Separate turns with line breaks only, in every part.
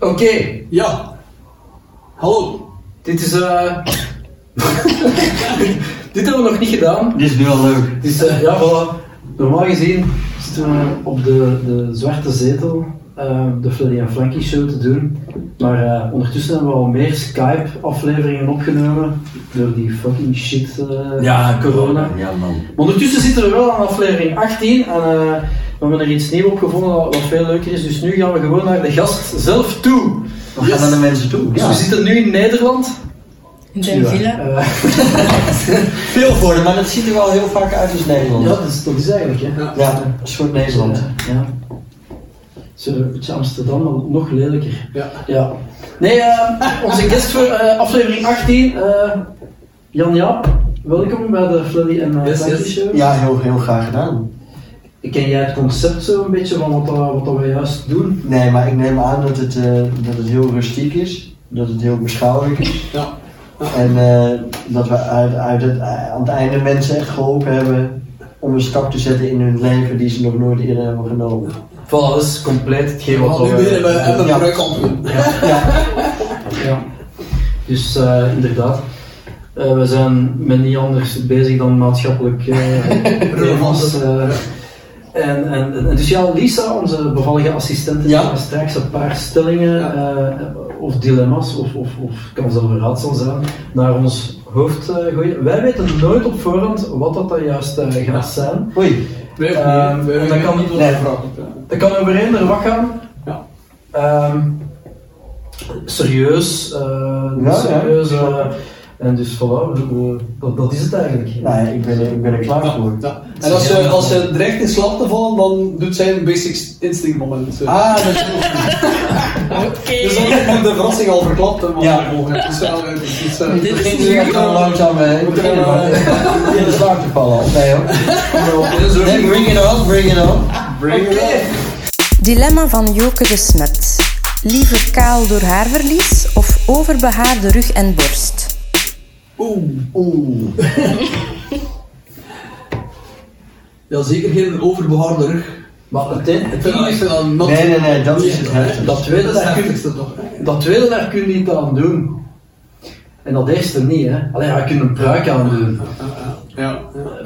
Oké,
Ja. Hallo.
dit is. eh. dit hebben we nog niet gedaan.
Dit is nu al leuk.
Dus eh, ja, voilà. Normaal gezien zitten we op de, de zwarte zetel eh, de Freddy en Frankie show te doen. Maar eh, ondertussen hebben we al meer Skype-afleveringen opgenomen door die fucking shit eh, corona.
Ja, man.
Maar ondertussen zitten we wel aan aflevering 18 en eh, we hebben er iets nieuws op gevonden wat wat veel leuker is. Dus nu gaan we gewoon naar de gast zelf toe.
We gaan naar de mensen toe.
Dus we zitten nu in Nederland.
In zijn villa.
Eh,
Veel voor maar dat ziet er wel heel vaak uit als Nederland.
ja, dat is, dat is eigenlijk, hè. Eh,
Ja.
Ja, een soort Nederland.
Ja. Zullen we een beetje Amsterdam dan nog lelijker?
Ja.
Ja. Nee, eh, onze guest voor eh, aflevering 18, eh, Jan Jaap. Welkom bij de Freddy en eh
Yes,
Frankie
yes.
Show.
Ja, heel, heel graag gedaan.
Ken jij het concept zo een beetje van wat, dat- wat dat we juist doen?
Nee, maar ik neem aan dat het, eh, dat het heel rustiek is. Dat het heel beschouwelijk is.
Ja.
En eh, dat we uit, uit het, eh, aan het einde mensen echt geholpen hebben om een stap te zetten in hun leven die ze nog nooit eerder hebben genomen.
Voilà, dat is compleet hetgeen
Want nu beginnen we hebben
eh,
we
Ja. Ehm,
een bruikantwoord.
Ja. Dus eh, inderdaad, Eh, we zijn met niet anders bezig dan maatschappelijk eh, thema's. eh. en, en, en dus ja, Lisa, onze bevallige assistente,
Ja.
heeft straks een paar stellingen eh, of dilemma's, of, of, of kan zelfs een raadsel zijn, naar ons hoofd eh, gooien. Wij weten nooit op voorhand wat dat dan juist eh, gaat zijn.
Oei,
Wij ook
Ehm,
niet, hè. Wij
dat
weten
kan
niet
niet
wat
nee.
de vraag is, hè.
Dat kan over eender wat gaan.
Ja.
Ehm, serieus, eh
Ja,
serieus. eh, en dus voilà, we- we- dat, dat is het eigenlijk.
nou, ik, ben, ik ben er klaar voor.
Ja. En als je, als je dreigt in slaap te vallen, dan doet zij een basic instinct moment. zo.
Ah, dat is
Oké.
Dus dan heb ik de verrassing al verklapt. hè, Maar
Ja.
Het is wel, het is, eh,
Dit
Ik
is
nu echt
nu
al
al...
langzaam eh,
Moet er
beginnen,
een,
maar, eh, in de slaap te vallen. Of Nee hoor.
dit is ook
Nee,
niet-
bring it on, bring it on.
Bring it up.
Dilemma van Joke de Smet. Liever kaal door haarverlies of overbehaarde rug en borst?
Oeh.
Oeh.
Ja, zeker geen overbehaarde rug.
Maar het, een- het
Ik vind dat- ik
ding is,
vind dat not-
Nee, nee, nee, dat is het heftig.
dat
Dat
tweede,
is het
daar kun,
heftigste toch? hè?
dat tweede daar kun je niet aan doen. En dat eerste niet, hè. Alleen, ja, je kunt een pruik aan doen.
Ja.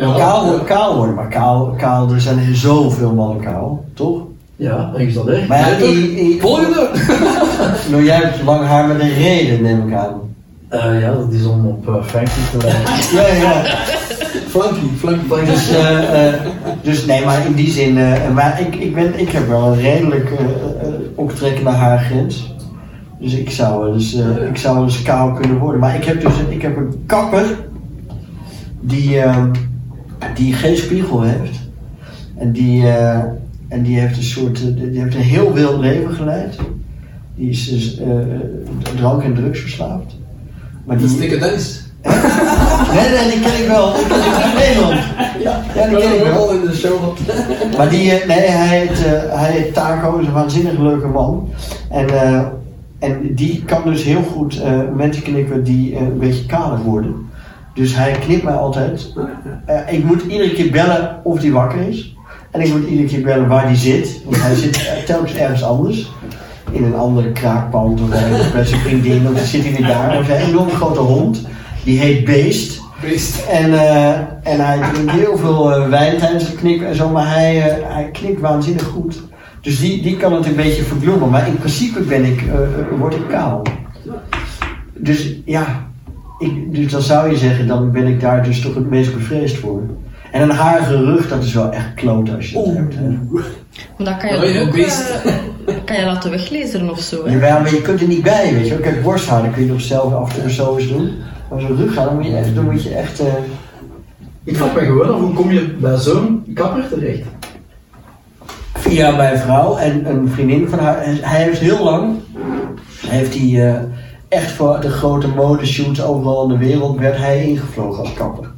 Maar kaal, worden- kaal worden, maar kaal, kaal, er zijn er zoveel mannen kaal, toch?
Ja, en is dat echt.
Maar ja,
Nee, toch?
i- i-
Volgende!
nou, jij hebt lang haar met een reden, neem ik aan.
Eh, ja, dat is om op eh, Frankie te...
Ja, ja.
Flanky, flanky.
Dus, eh, eh, dus nee, maar in die zin, eh, maar ik, ik, ben, ik heb wel een redelijk eh, eh, optrekkende haargrens. Dus ik zou wel eens, eh, ik zou wel eens kaal kunnen worden. Maar ik heb dus een- ik heb een kapper die, eh, die geen spiegel heeft. En die, eh, en die heeft een soort, eh, die heeft een heel wild leven geleid. Die is dus eh, eh, drank en drugs verslaafd. Maar
Dat is dikke Dennis.
Nee, nee, die ken ik wel. Die ken ik uit Nederland.
Ja,
ja, die
ik
ken ik
heb
wel.
al in de show gehad.
Maar die, eh, nee, hij heet, eh, hij heet Taco, is een waanzinnig leuke man. En, eh, en die kan dus heel goed eh, mensen knippen die eh, een beetje kaler worden. Dus hij knipt mij altijd. Eh, ik moet iedere keer bellen of hij wakker is. En ik moet iedere keer bellen waar hij zit. Want hij zit eh, telkens ergens anders. In een andere kraakpand of ergens bij zijn vriendin. Of dan zit hij weer daar. Of een enorm grote hond. Die heet Beest.
Beest.
En, eh, en hij drinkt heel veel eh, wijn tijdens het knippen en zo, maar hij, eh, hij knipt waanzinnig goed. Dus die, die kan het een beetje verbloemen, maar in principe ben ik, eh, eh, word ik kaal. Dus ja, ik, dus dan zou je zeggen, dan ben ik daar dus toch het meest bevreesd voor. En een harige rug, dat is wel echt kloot als je het
Oeh.
hebt. Hè.
Maar dat kan je
Dan ben je
toch
een
ook...
beest.
eh, kan je laten weglezen of zo, hè?
Jawel, maar je kunt er niet bij, weet je wel. Kijk, borsthaar, dan kun je nog zelf af en toe zo eens doen. Maar zo'n rug gaan, dan moet je echt, dan moet je echt eh,
Ik vraag me gewoon af, hoe kom je bij zo'n kapper terecht?
via mijn vrouw en een vriendin van haar. En Hij heeft heel lang, heeft hij eh, echt voor de grote modeshoots overal in de wereld, werd hij ingevlogen als kapper.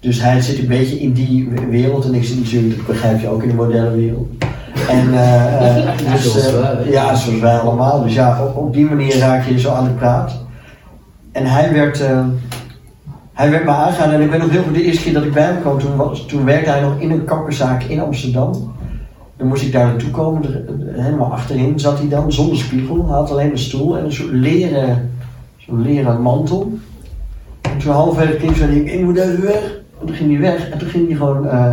Dus hij zit een beetje in die wereld en ik zit natuurlijk, dat begrijp je, ook in de modellenwereld. En, eh, eh, dus,
Zoals
eh,
wij.
ja, zoals wij allemaal. Dus ja, op, op die manier raak je zo aan de praat. En hij werd, eh, hij werd me aangegaan en ik weet nog heel goed de eerste keer dat ik bij hem kwam, toen, was, toen werkte hij nog in een kapperzaak in Amsterdam. Dan moest ik daar naartoe komen, er- eh, helemaal achterin zat hij dan, zonder spiegel. Hij had alleen een stoel en een soort leren, zo'n leren mantel. En toen halverwege ging zei hij, ik moet even weg. En toen ging hij weg en toen ging hij gewoon eh,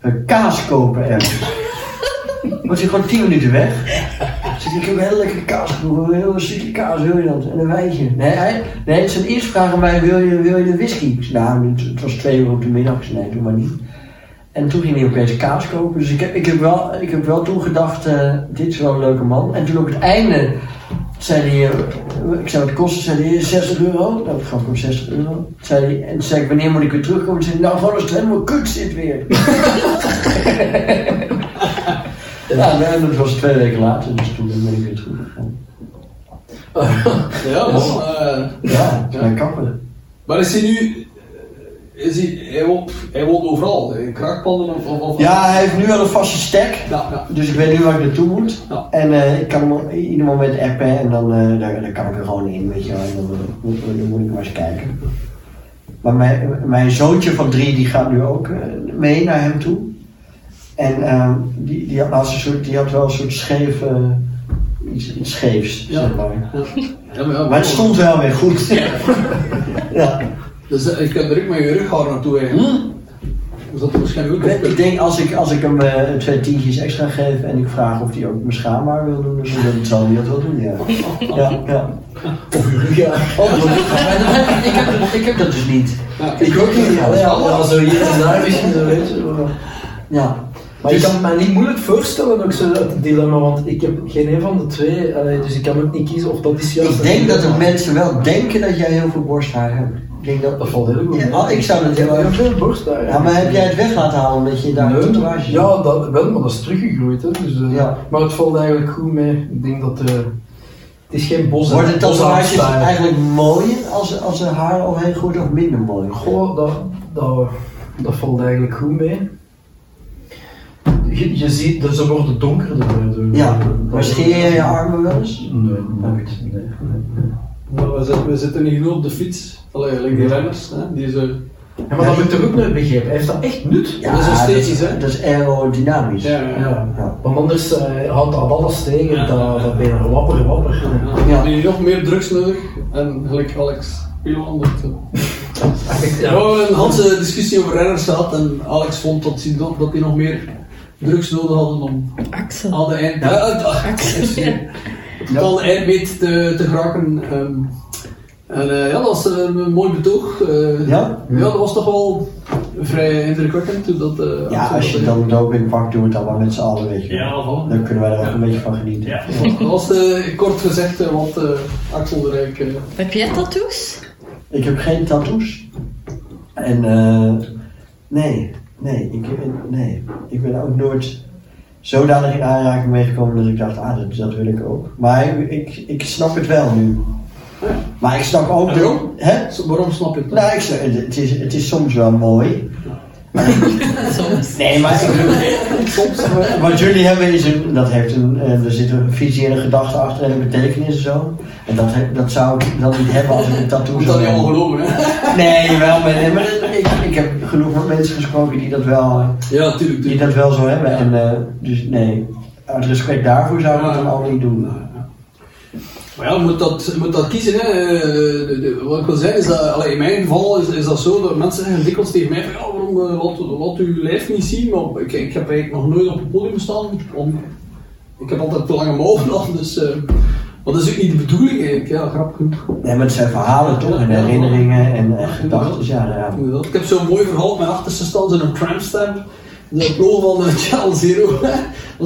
eh, kaas kopen ergens. was hij gewoon tien minuten weg. Dus ik heb heel lekker kaas gekocht, heel een stukje kaas, wil je dat? En een wijntje. Nee, hij, nee zijn eerste vraag aan mij, wil je, wil je de whisky? Ik zei, nou, het, het was twee uur op de middag, ik zei, nee, doe maar niet. En toen ging hij opeens kaas kopen, dus ik heb, ik heb, wel, ik heb wel toen gedacht, eh, dit is wel een leuke man. En toen op het einde zei hij, eh, ik zou het kosten, zei hij, 60 euro. Nou, ik gaf hem 60 euro. Toen Zei hij, en toen zei ik, wanneer moet ik weer terugkomen? Toen zei hij, nou, gewoon als het helemaal kut zit weer. ja, nou, en dat was twee weken later, dus toen ben ik weer teruggegaan.
Ja, man. eh,
Ja, zijn kappen.
maar is hij nu... eh, Is hij, hij, woont, hij woont overal, in kraakpanden of... of, of
Ja, hij heeft nu al een vaste stek.
Ja, ja.
Dus ik weet nu waar ik naartoe moet.
Ja.
En eh, ik kan hem op ieder moment appen en dan eh, daar, daar kan ik er gewoon in, weet je wel. En Dan, eh, moet, dan moet ik maar eens kijken. Maar mijn, mijn zoontje van drie, die gaat nu ook eh, mee naar hem toe. En eh, die, die, had laatst een soort, die had wel een soort scheef, eh, iets, iets scheefs,
Ja.
zeg maar.
Ja, maar, ja,
Maar het stond wel weer goed. ja.
Dus eh, ik heb er ook met je rughaar naartoe eigenlijk.
Hm?
Dus dat is waarschijnlijk ook
Ik, weet-
een
ik denk als ik, als ik hem eh, twee tientjes extra geef en ik vraag of hij ook mijn schaamhaar wil doen, dus dan zal hij dat wel doen, ja. ja, ja. Of ja. maar dat heb ik, ik, heb, dat- ik heb dat dus niet.
Ja,
Ik ook niet, ja.
Ja,
ja,
zo hier en daar misschien, zo weet je. maar-
ja.
Maar ik kan het mij niet moeilijk voorstellen, ook zo dat dilemma, want ik heb geen een van de twee, allee, dus ik kan ook niet kiezen of dat is juist.
Ik denk dat de mensen wel denken dat jij heel veel borsthaar hebt. Ik denk dat...
Dat valt heel goed.
Ja, maar ik zou dat
Ik
heel
heb heel
erg...
veel borsthaar.
Ja, maar heb jij het weg laten halen omdat je daar een tatoeage
Ja, dat wel, maar dat is teruggegroeid. Hè. Dus, eh,
Ja.
Maar het valt eigenlijk goed mee. Ik denk dat eh, het is geen bos.
Worden tatoeages
boshaarstijl.
eigenlijk mooier als, als een haar al heel goed of minder mooi?
Goh, dat, dat, dat valt eigenlijk goed mee. Je, je ziet, dus ze worden donkerder. hè, door-
Ja,
door-
maar scheer je je armen wel eens?
Nee, nooit. Nee, nee.
Maar we, zitten, we zitten hier nu op de fiets. Allee, like
Hm.
die renners, hè, die zo...
Ja, maar dat moet ik toch ook nooit begrepen. Heeft dat echt nut?
Dat is esthetisch,
dat is-
hè?
Dat is aerodynamisch.
Ja, ja, ja.
Ja.
Want anders eh, houdt dat alles tegen. Dat, dat ben je wapper, wapper.
Ja.
Die nog meer drugs nodig. En gelijk Alex Pilan. dat, eh, We
Ja.
hebben een hele discussie over renners gehad. En Alex vond dat hij, nog- dat hij nog meer drugs nodig hadden om
Axel.
al de eind... Ja. Al de eindmeet te, eh, te geraken. ehm. en eh, ja, dat was een, mooi betoog. eh.
Ja?
dat was toch wel vrij indrukwekkend. Toen dat, eh, Axel
Ja,
dat
als je
deed.
dan doping pakt, doe het dan maar met z'n allen, weet je. wel.
Ja, voilà.
Dan kunnen wij er ook een beetje van genieten.
Ja.
Dat was eh, kort gezegd eh, wat eh, Axel er eigenlijk... eh,
Heb jij tattoos?
Ik heb geen tattoos. En eh. nee, nee ik, ben- nee, ik ben ook nooit zodanig in aanraking meegekomen dat ik dacht, ah, dat, dat wil ik ook. Maar ik, ik, ik snap het wel nu. Maar ik snap ook...
En waarom?
Hè?
Zo, eh, Waarom snap je het?
Nou, ik, zeg, het, is, het is soms wel mooi.
Soms.
Nee, maar ik bedoel, soms, eh, wat jullie hebben is een, dat heeft een, eh, er zit een visie en een gedachte achter en een betekenis en zo. En dat, he- dat zou ik dan niet hebben als ik een tattoo
Moet
zou
dat niet allemaal
hebben.
geloven, hè?
Nee, wel, maar, nee, maar dat- ik, ik heb genoeg met mensen gesproken die dat wel, eh,
Ja, natuurlijk.
die dat wel zo hebben. En, eh, dus nee, uit respect daarvoor zou ik dat dan al niet doen.
Maar ja, je moet dat, je moet dat kiezen. Hè. Eh, de- de- wat ik wil zeggen is dat, allee, in mijn geval is, is dat zo dat mensen zeggen dikwijls tegen mij: van, ja, waarom eh, laat, laat uw lijf niet zien? Maar ik, ik heb eigenlijk nog nooit op het podium gestaan. Om, ik heb altijd te lange mouwen gehad, dus. eh, maar dat is ook niet de bedoeling eigenlijk, ja, grappig genoeg.
Nee, maar het zijn verhalen toch en herinneringen en eh, gedachten. Ja, ja.
Inderdaad. Ik heb zo'n mooi verhaal op mijn achterste stand in een tramstamp. De pro van eh, Channel Zero. dat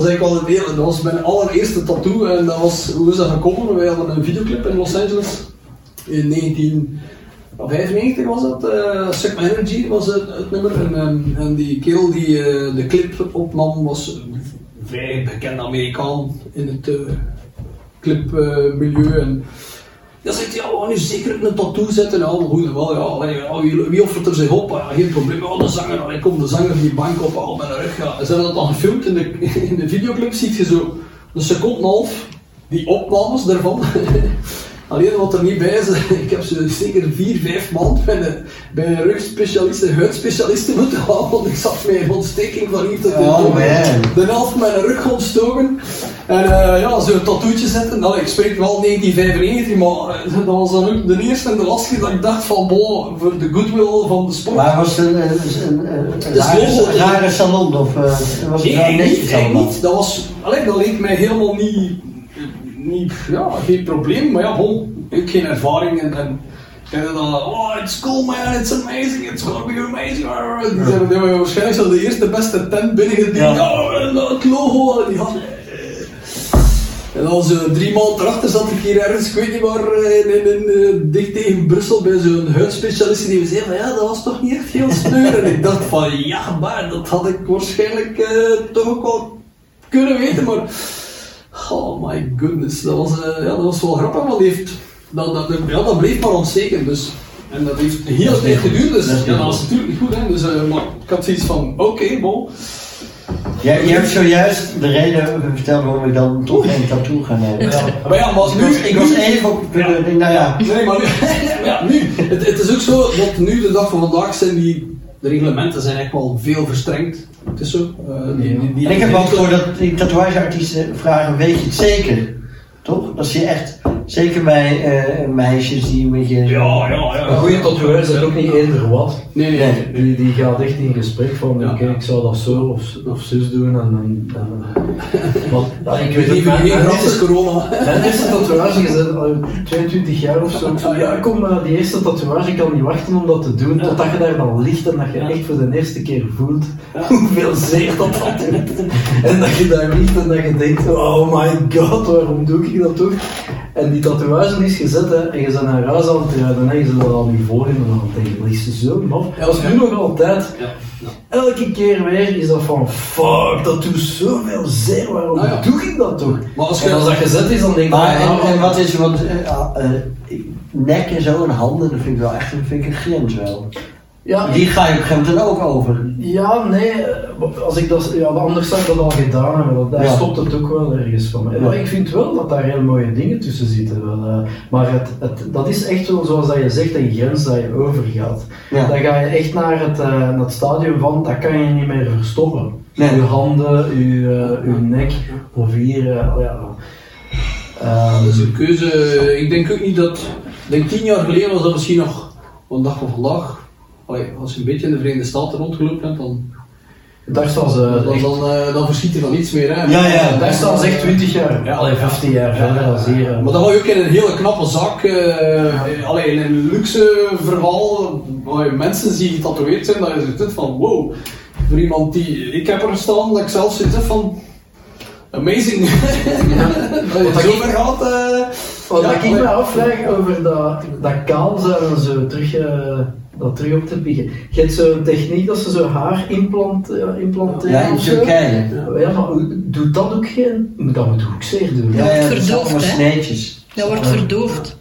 was eigenlijk al het hele. Dat was mijn allereerste tattoo. En dat was, hoe is dat gekomen? Wij hadden een videoclip in Los Angeles. In 1995 was dat. eh Sigma Energy was het, het nummer. En, ehm, en die kerel die eh, de clip opnam was een vrij bekende Amerikaan in het eh, clipmilieu. en dan zegt hij, ja, we gaan nu zeker een tattoo zetten. Nou, goed en wel, ja, allee, ja, wie, wie offert er zich op? Ja, geen probleem, oh, de zanger. Allee, komt de zanger die bank op, al met een rug. Ja. En Ze hebben dat dan gefilmd in de, in de videoclip, ziet je zo een seconde en een half die opnames daarvan. Alleen wat er niet bij is, ik heb ze zeker vier, vijf maanden bij een, bij een rugspecialist, een huidspecialist moeten halen, want ik zat met een ontsteking van hier tot
Oh,
in de,
man.
de helft met een rug ontstoken. En eh, ja, zo'n tattoetje zetten, nou, ik spreek wel 1995, maar eh, dat was dan ook de eerste en de laatste keer dat ik dacht van, bon, voor de goodwill van de sport.
Maar was het een, een, een, een, een
is
rare,
logo.
rare salon of eh was het
Nee,
wel
eigenlijk
netjes
niet, eigenlijk
allemaal?
niet. Dat, was, allee, dat leek mij helemaal niet, niet ja, geen probleem. Maar ja, bon, ik heb geen ervaring. En, en, en dan, oh, it's cool man, it's amazing, it's gonna be amazing. Die zijn die hebben waarschijnlijk zo de eerste beste tent binnengeduwd.
Ja.
Oh, en dat logo, en die had... En dan zo drie maanden erachter zat ik hier ergens, ik weet niet waar, in, in, in, eh, dicht tegen Brussel bij zo'n huidspecialist die me zei van ja, dat was toch niet echt heel sneu. en ik dacht van ja, maar dat had ik waarschijnlijk eh, toch ook wel kunnen weten, maar oh my goodness, dat was, eh, ja, dat was wel grappig, want die heeft, dat, dat, ja, dat bleef maar onzeker dus. En dat heeft heel
Dat is
veel
niet
tijd geduurd,
goed.
dus
Dat is
ja,
niet
dat was
goed.
natuurlijk niet goed. Hè? Dus, eh, maar ik had zoiets van, oké, bon.
Jij, jij hebt zojuist de reden verteld waarom ik dan toch geen tattoo ga nemen.
Maar ja, maar
Ik was,
nu...
ik was even op het punt dat ik denk, nou ja,
Nee, maar nu, ja, nu het, het is ook zo dat nu de dag van vandaag zijn die de reglementen zijn echt wel veel verstrengd. Het is zo. eh, die, die, die-
En ik heb ook gehoord dat die tatoeageartiesten vragen, weet je het zeker? Toch? Dat zie je echt, zeker bij eh, meisjes die een beetje...
Ja, ja,
Een
ja.
goede tatoeëer zegt ook niet eerder wat.
Nee, nee, nee.
Die, die gaat echt in gesprek van,
Ja.
oké, ik zou dat zo of, of zus doen. En, en, en- want, ja, ik weet
Even
het
geen
niet.
gratis corona.
Mijn eerste tatoeage is eh, al 22 jaar of zo. Ik zo, ja, kom, eh, die eerste tatoeage, ik kan niet wachten om dat te doen. Totdat je daar dan ligt en dat je echt voor de eerste keer voelt hoeveel zeer dat dat doet. En dat je daar ligt en dat je denkt, oh my god, waarom doe ik dat toch? En die tatoeage is gezet hè, en je bent naar huis aan het rijden en je zit er al niet voor in en dan denk je, ligt ze zo maf.
Ja,
Dat is nu
ja.
nog altijd.
Ja, ja.
Elke keer weer is dat van, fuck, dat doet zoveel zeer, waarom
Ah, ja.
doe ik dat toch?
Maar als
En als dat
je...
gezet is, dan denk ik... ja,
Maar en, en wat is, want eh, ah, eh, nek en zo en handen, dat vind ik wel echt dat vind ik een grens wel.
Ja,
Die ga je op een gegeven moment dan ook over.
ja, nee, eh, als ik dat, ja, anders zou ik dat al gedaan hebben, want daar
Ja.
stopt het ook wel ergens van. En
Ja.
ik vind wel dat daar heel mooie dingen tussen zitten. wel, eh, maar het, het, dat is echt wel zoals dat je zegt, een grens dat je overgaat. Dan
Ja.
ga je echt naar het, eh, naar het stadium van, dat kan je niet meer verstoppen.
Nee.
Uw handen, uw, eh, uw nek, of hier, eh, ja. Ehm,
Dat
Dus-
is een keuze. Ik denk ook niet dat... Ik denk tien jaar geleden was dat misschien nog een dag van vandaag. Allee, als je een beetje in de Verenigde Staten rondgelopen hebt, dan,
daar staan ze
dan,
echt,
dan, eh, dan verschiet je van niets meer. Hè.
Ja, ja.
daar staan ze echt 20 jaar,
Ja.
allee, 15 jaar verder als hier. eh.
Maar dan wou je ook in een hele knappe zak, eh allee, in een luxe verhaal, waar je mensen die getatoeëerd zijn, dat je zoiets hebt van wow. Voor iemand die, ik heb er staan, dat ik zelf zoiets heb van amazing. dat je
Wat
zo
ik-
ver gaat. eh.
Wat
Ja,
Oh, ik
maar-
me afvraag over dat, dat kaal zijn en zo terug, eh, dat terug op te pikken. Je hebt zo'n techniek dat ze zo haar implant, eh, implanteren.
Ja, in
of zo. Oh,
Turkije.
Ja, maar hoe- doet dat ook geen. maar Dat moet ook zeer doen.
Ja, ja, dat zijn
verdoofd,
allemaal
hè?
sneetjes.
Dat wordt verdoofd.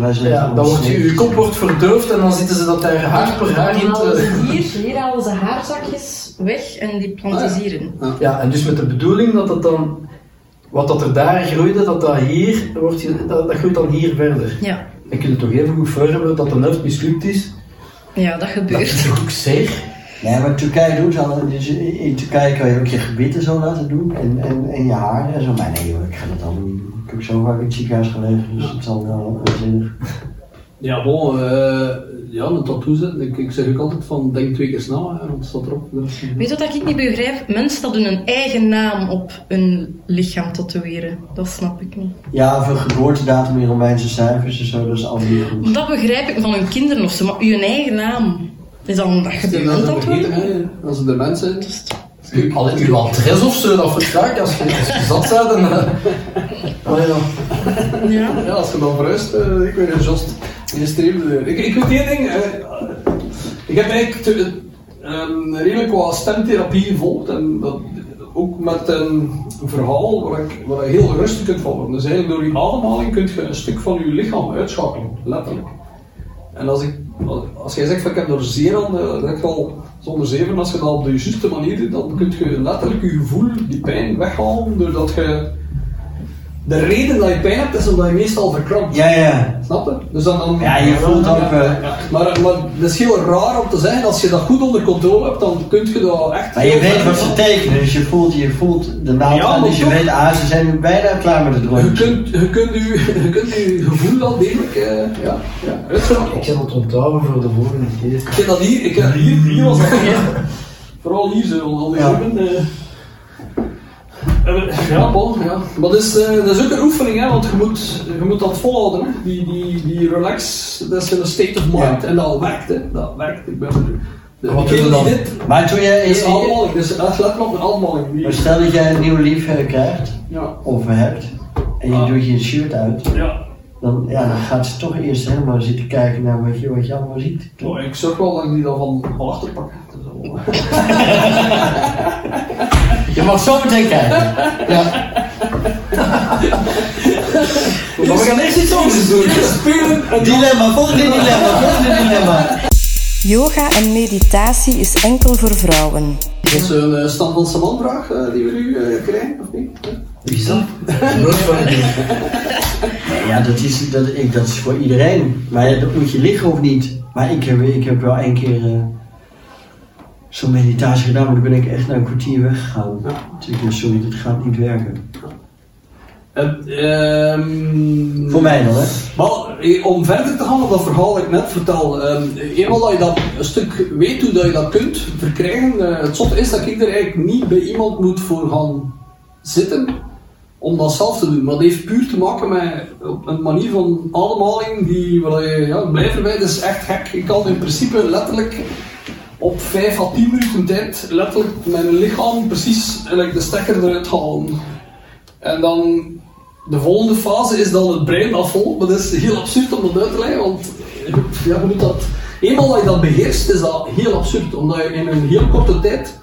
Wij zijn
Ja,
allemaal
dan wordt je,
sneetjes.
je kop wordt verdoofd en dan zitten ze dat daar haar per haar in
Dan halen
te...
ze hier, hier halen ze haarzakjes weg en die planten ze hierin.
Ja, en dus met de bedoeling dat het dan. Wat dat er daar groeide, dat dat hier wordt, ge- dat, dat groeit dan hier verder.
Ja.
Dan kun je toch even goed voor hebben dat de helft mislukt is.
ja, dat
Dat
gebeurt.
is toch ook zeer?
Nee, maar Turkije doet al. Dus in Turkije kan je ook je gebit en zo laten doen. En, en, en je haar en zo. Maar nee, joh, ik ga dat allemaal niet. doen. Ik heb ook zo vaak in het ziekenhuis gelegen, dus het zal wel onzinnig.
Ja, bon, eh, ja, een tattoo zetten. Ik, ik zeg ook altijd van denk twee keer snel, hè, want het staat erop. Dus,
Weet je wat ik niet begrijp? Mensen dat hun een eigen naam op hun lichaam tatoeëren. Dat snap ik niet.
Ja, of een geboortedatum in Romeinse cijfers en zo, dat is allemaal niet goed.
Dat begrijp ik van hun kinderen of zo, maar hun eigen naam. Is dan dat
dat
gebeurt
is
dat
vergeten,
wel?
hè, als ze de mensen.
Alleen uw adres of zo, dat versta ik als je, als je zat bent. En, eh, maar ja.
Ja.
Ja, als je dan verhuist, eh, ik weet niet, Jost, je streamde. Ik, ik weet één ding, eh, ik heb eigenlijk te- ehm, redelijk wat stemtherapie gevolgd en dat, ook met een verhaal waar, ik, waar je heel rustig kunt van worden. Dus eigenlijk door je ademhaling kun je een stuk van je lichaam uitschakelen, letterlijk. En als, ik, als jij zegt van ik heb er zeer aan, eh, dat ik wel zonder zeven, als je dat op de juiste manier doet, dan kun je letterlijk je gevoel, die pijn weghalen doordat je de reden dat je pijn hebt, is omdat je meestal verkrampt.
Ja, ja.
Snap je? Dus dan, dan,
Ja, je voelt ook, eh,
maar, maar dat is heel raar om te zeggen, als je dat goed onder controle hebt, dan kun je dat echt...
Maar je weet wat ze tekenen, dus je voelt, je voelt de naald
Ja,
aan,
maar
dus je
toch-
weet, ah, ze zijn nu bijna klaar met het
Je
rondje.
kunt, je kunt, je, je kunt je gevoel al degelijk eh, ja, ja, uitschakelen.
Ik zit aan het onthouden voor de volgende keer.
Ik heb dat hier, ik heb hier, hier was dat hier. Vooral hier zo, al die
Ja.
hebben. eh. Eh, Ja, bon, ja. Maar dat is, eh, dat is ook een oefening, hè, want je moet, je moet dat volhouden. Hè. Die, die, die relax, dat is een state of mind.
Ja.
En dat werkt, hè. Dat werkt. Ik ben er. De-
Wat
degene
doen we dan?
die Dit
Maar toen jij,
is allemaal, dus eh, let maar op de allemaal.
maar
Die-
stel dat jij een nieuw lief eh, krijgt,
Ja,
of hebt, en je
Ah.
doet je shirt uit,
ja.
dan, ja, dan gaat ze toch eerst helemaal zitten kijken naar wat je, wat je allemaal ziet.
Oh, ik zorg wel dat ik die dan van van achter pak. Dat is wel-
Je mag zo meteen kijken. Ja.
Maar we gaan echt iets anders doen. Spelen en
Dilemma, volgende dilemma, volgende dilemma.
Yoga en meditatie is enkel voor vrouwen.
Dat is een eh, stand van Saman-vraag eh, die we nu eh, krijgen, of niet?
Wie is dat? Nooit van gezien.
Nee, ja, dat is, dat, ik, dat is voor iedereen. Maar ja, dat moet je liggen of niet. Maar ik heb, ik heb wel één keer eh, zo'n meditatie gedaan, maar toen ben ik echt na een kwartier weggegaan. Toen dacht ik, sorry, dit gaat niet werken.
Eh, ehm,
Voor mij dan, hè?
Maar eh, om verder te gaan op dat verhaal dat ik net vertel. ehm, eenmaal dat je dat een stuk weet hoe dat je dat kunt verkrijgen. eh, het zotte is dat ik er eigenlijk niet bij iemand moet voor gaan zitten om dat zelf te doen. Maar dat heeft puur te maken met een manier van ademhaling die waar je ja, blijven bij. Dat is echt gek. Ik kan in principe letterlijk op 5 à 10 minuten tijd letterlijk mijn lichaam precies gelijk de stekker eruit halen. En dan de volgende fase is dan het brein dat volgt, maar dat is heel absurd om dat uit te leggen, want ja, je moet dat, eenmaal dat je dat beheerst, is dat heel absurd, omdat je in een heel korte tijd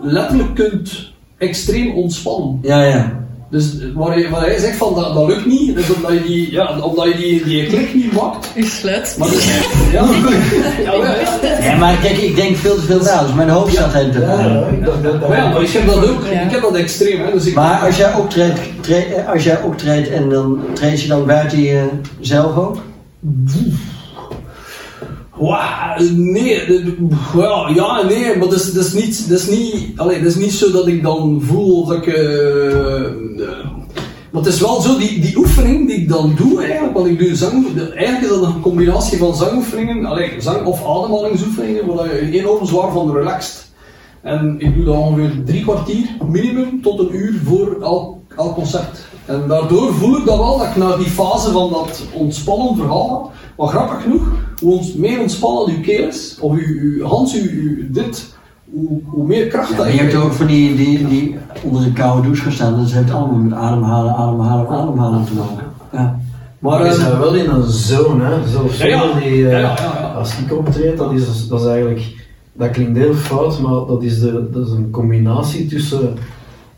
letterlijk kunt extreem ontspannen.
Ja, ja.
Dus waar, je, waar hij zegt van dat, dat lukt niet, is omdat je die, ja, omdat je die, die klik niet maakt.
U sluit.
Maar dat- ja, ja, ja, ja.
Ja, maar kijk, ik denk veel te veel na, dus mijn hoofd staat helemaal te
Ja,
draaien.
ik dacht dat
Maar ja, maar
dat...
ik heb dat ook,
Ja.
ik heb dat extreem. Hè, dus ik,
Maar als jij optreedt, tre- eh, als jij optreedt en dan treed je dan buiten jezelf ook?
Wauw, nee, dit- wel, ja, nee, maar dat is, dat is niet, dat is niet, allee, dat is niet zo dat ik dan voel dat ik, eh, eh, maar het is wel zo, die, die oefening die ik dan doe eigenlijk, want ik doe zang, de- eigenlijk is dat een combinatie van zangoefeningen, allee, zang- of ademhalingsoefeningen, waar je enorm zwaar van relaxed. En ik doe dat ongeveer drie kwartier, minimum, tot een uur voor elk, elk concert. En daardoor voel ik dat wel, dat ik naar die fase van dat ontspannen verhaal ga. Maar grappig genoeg, hoe ons, meer ontspannen uw keel is, of uw, uw hand, uw, uw dit, hoe, hoe meer kracht
Ja,
dat
maar je hebt
krijgt.
ook van die, die, die onder de koude douche gestaan. Dat heeft allemaal met ademhalen, ademhalen, ademhalen te maken. Ja.
Maar we
eh,
zijn wel in een zone, hè. Dus Zelfs
Ja, ja.
zonder die... eh,
Ja, ja, ja, ja.
Als ik optreed, dat is, dat is eigenlijk... Dat klinkt heel fout, maar dat is, de, dat is een combinatie tussen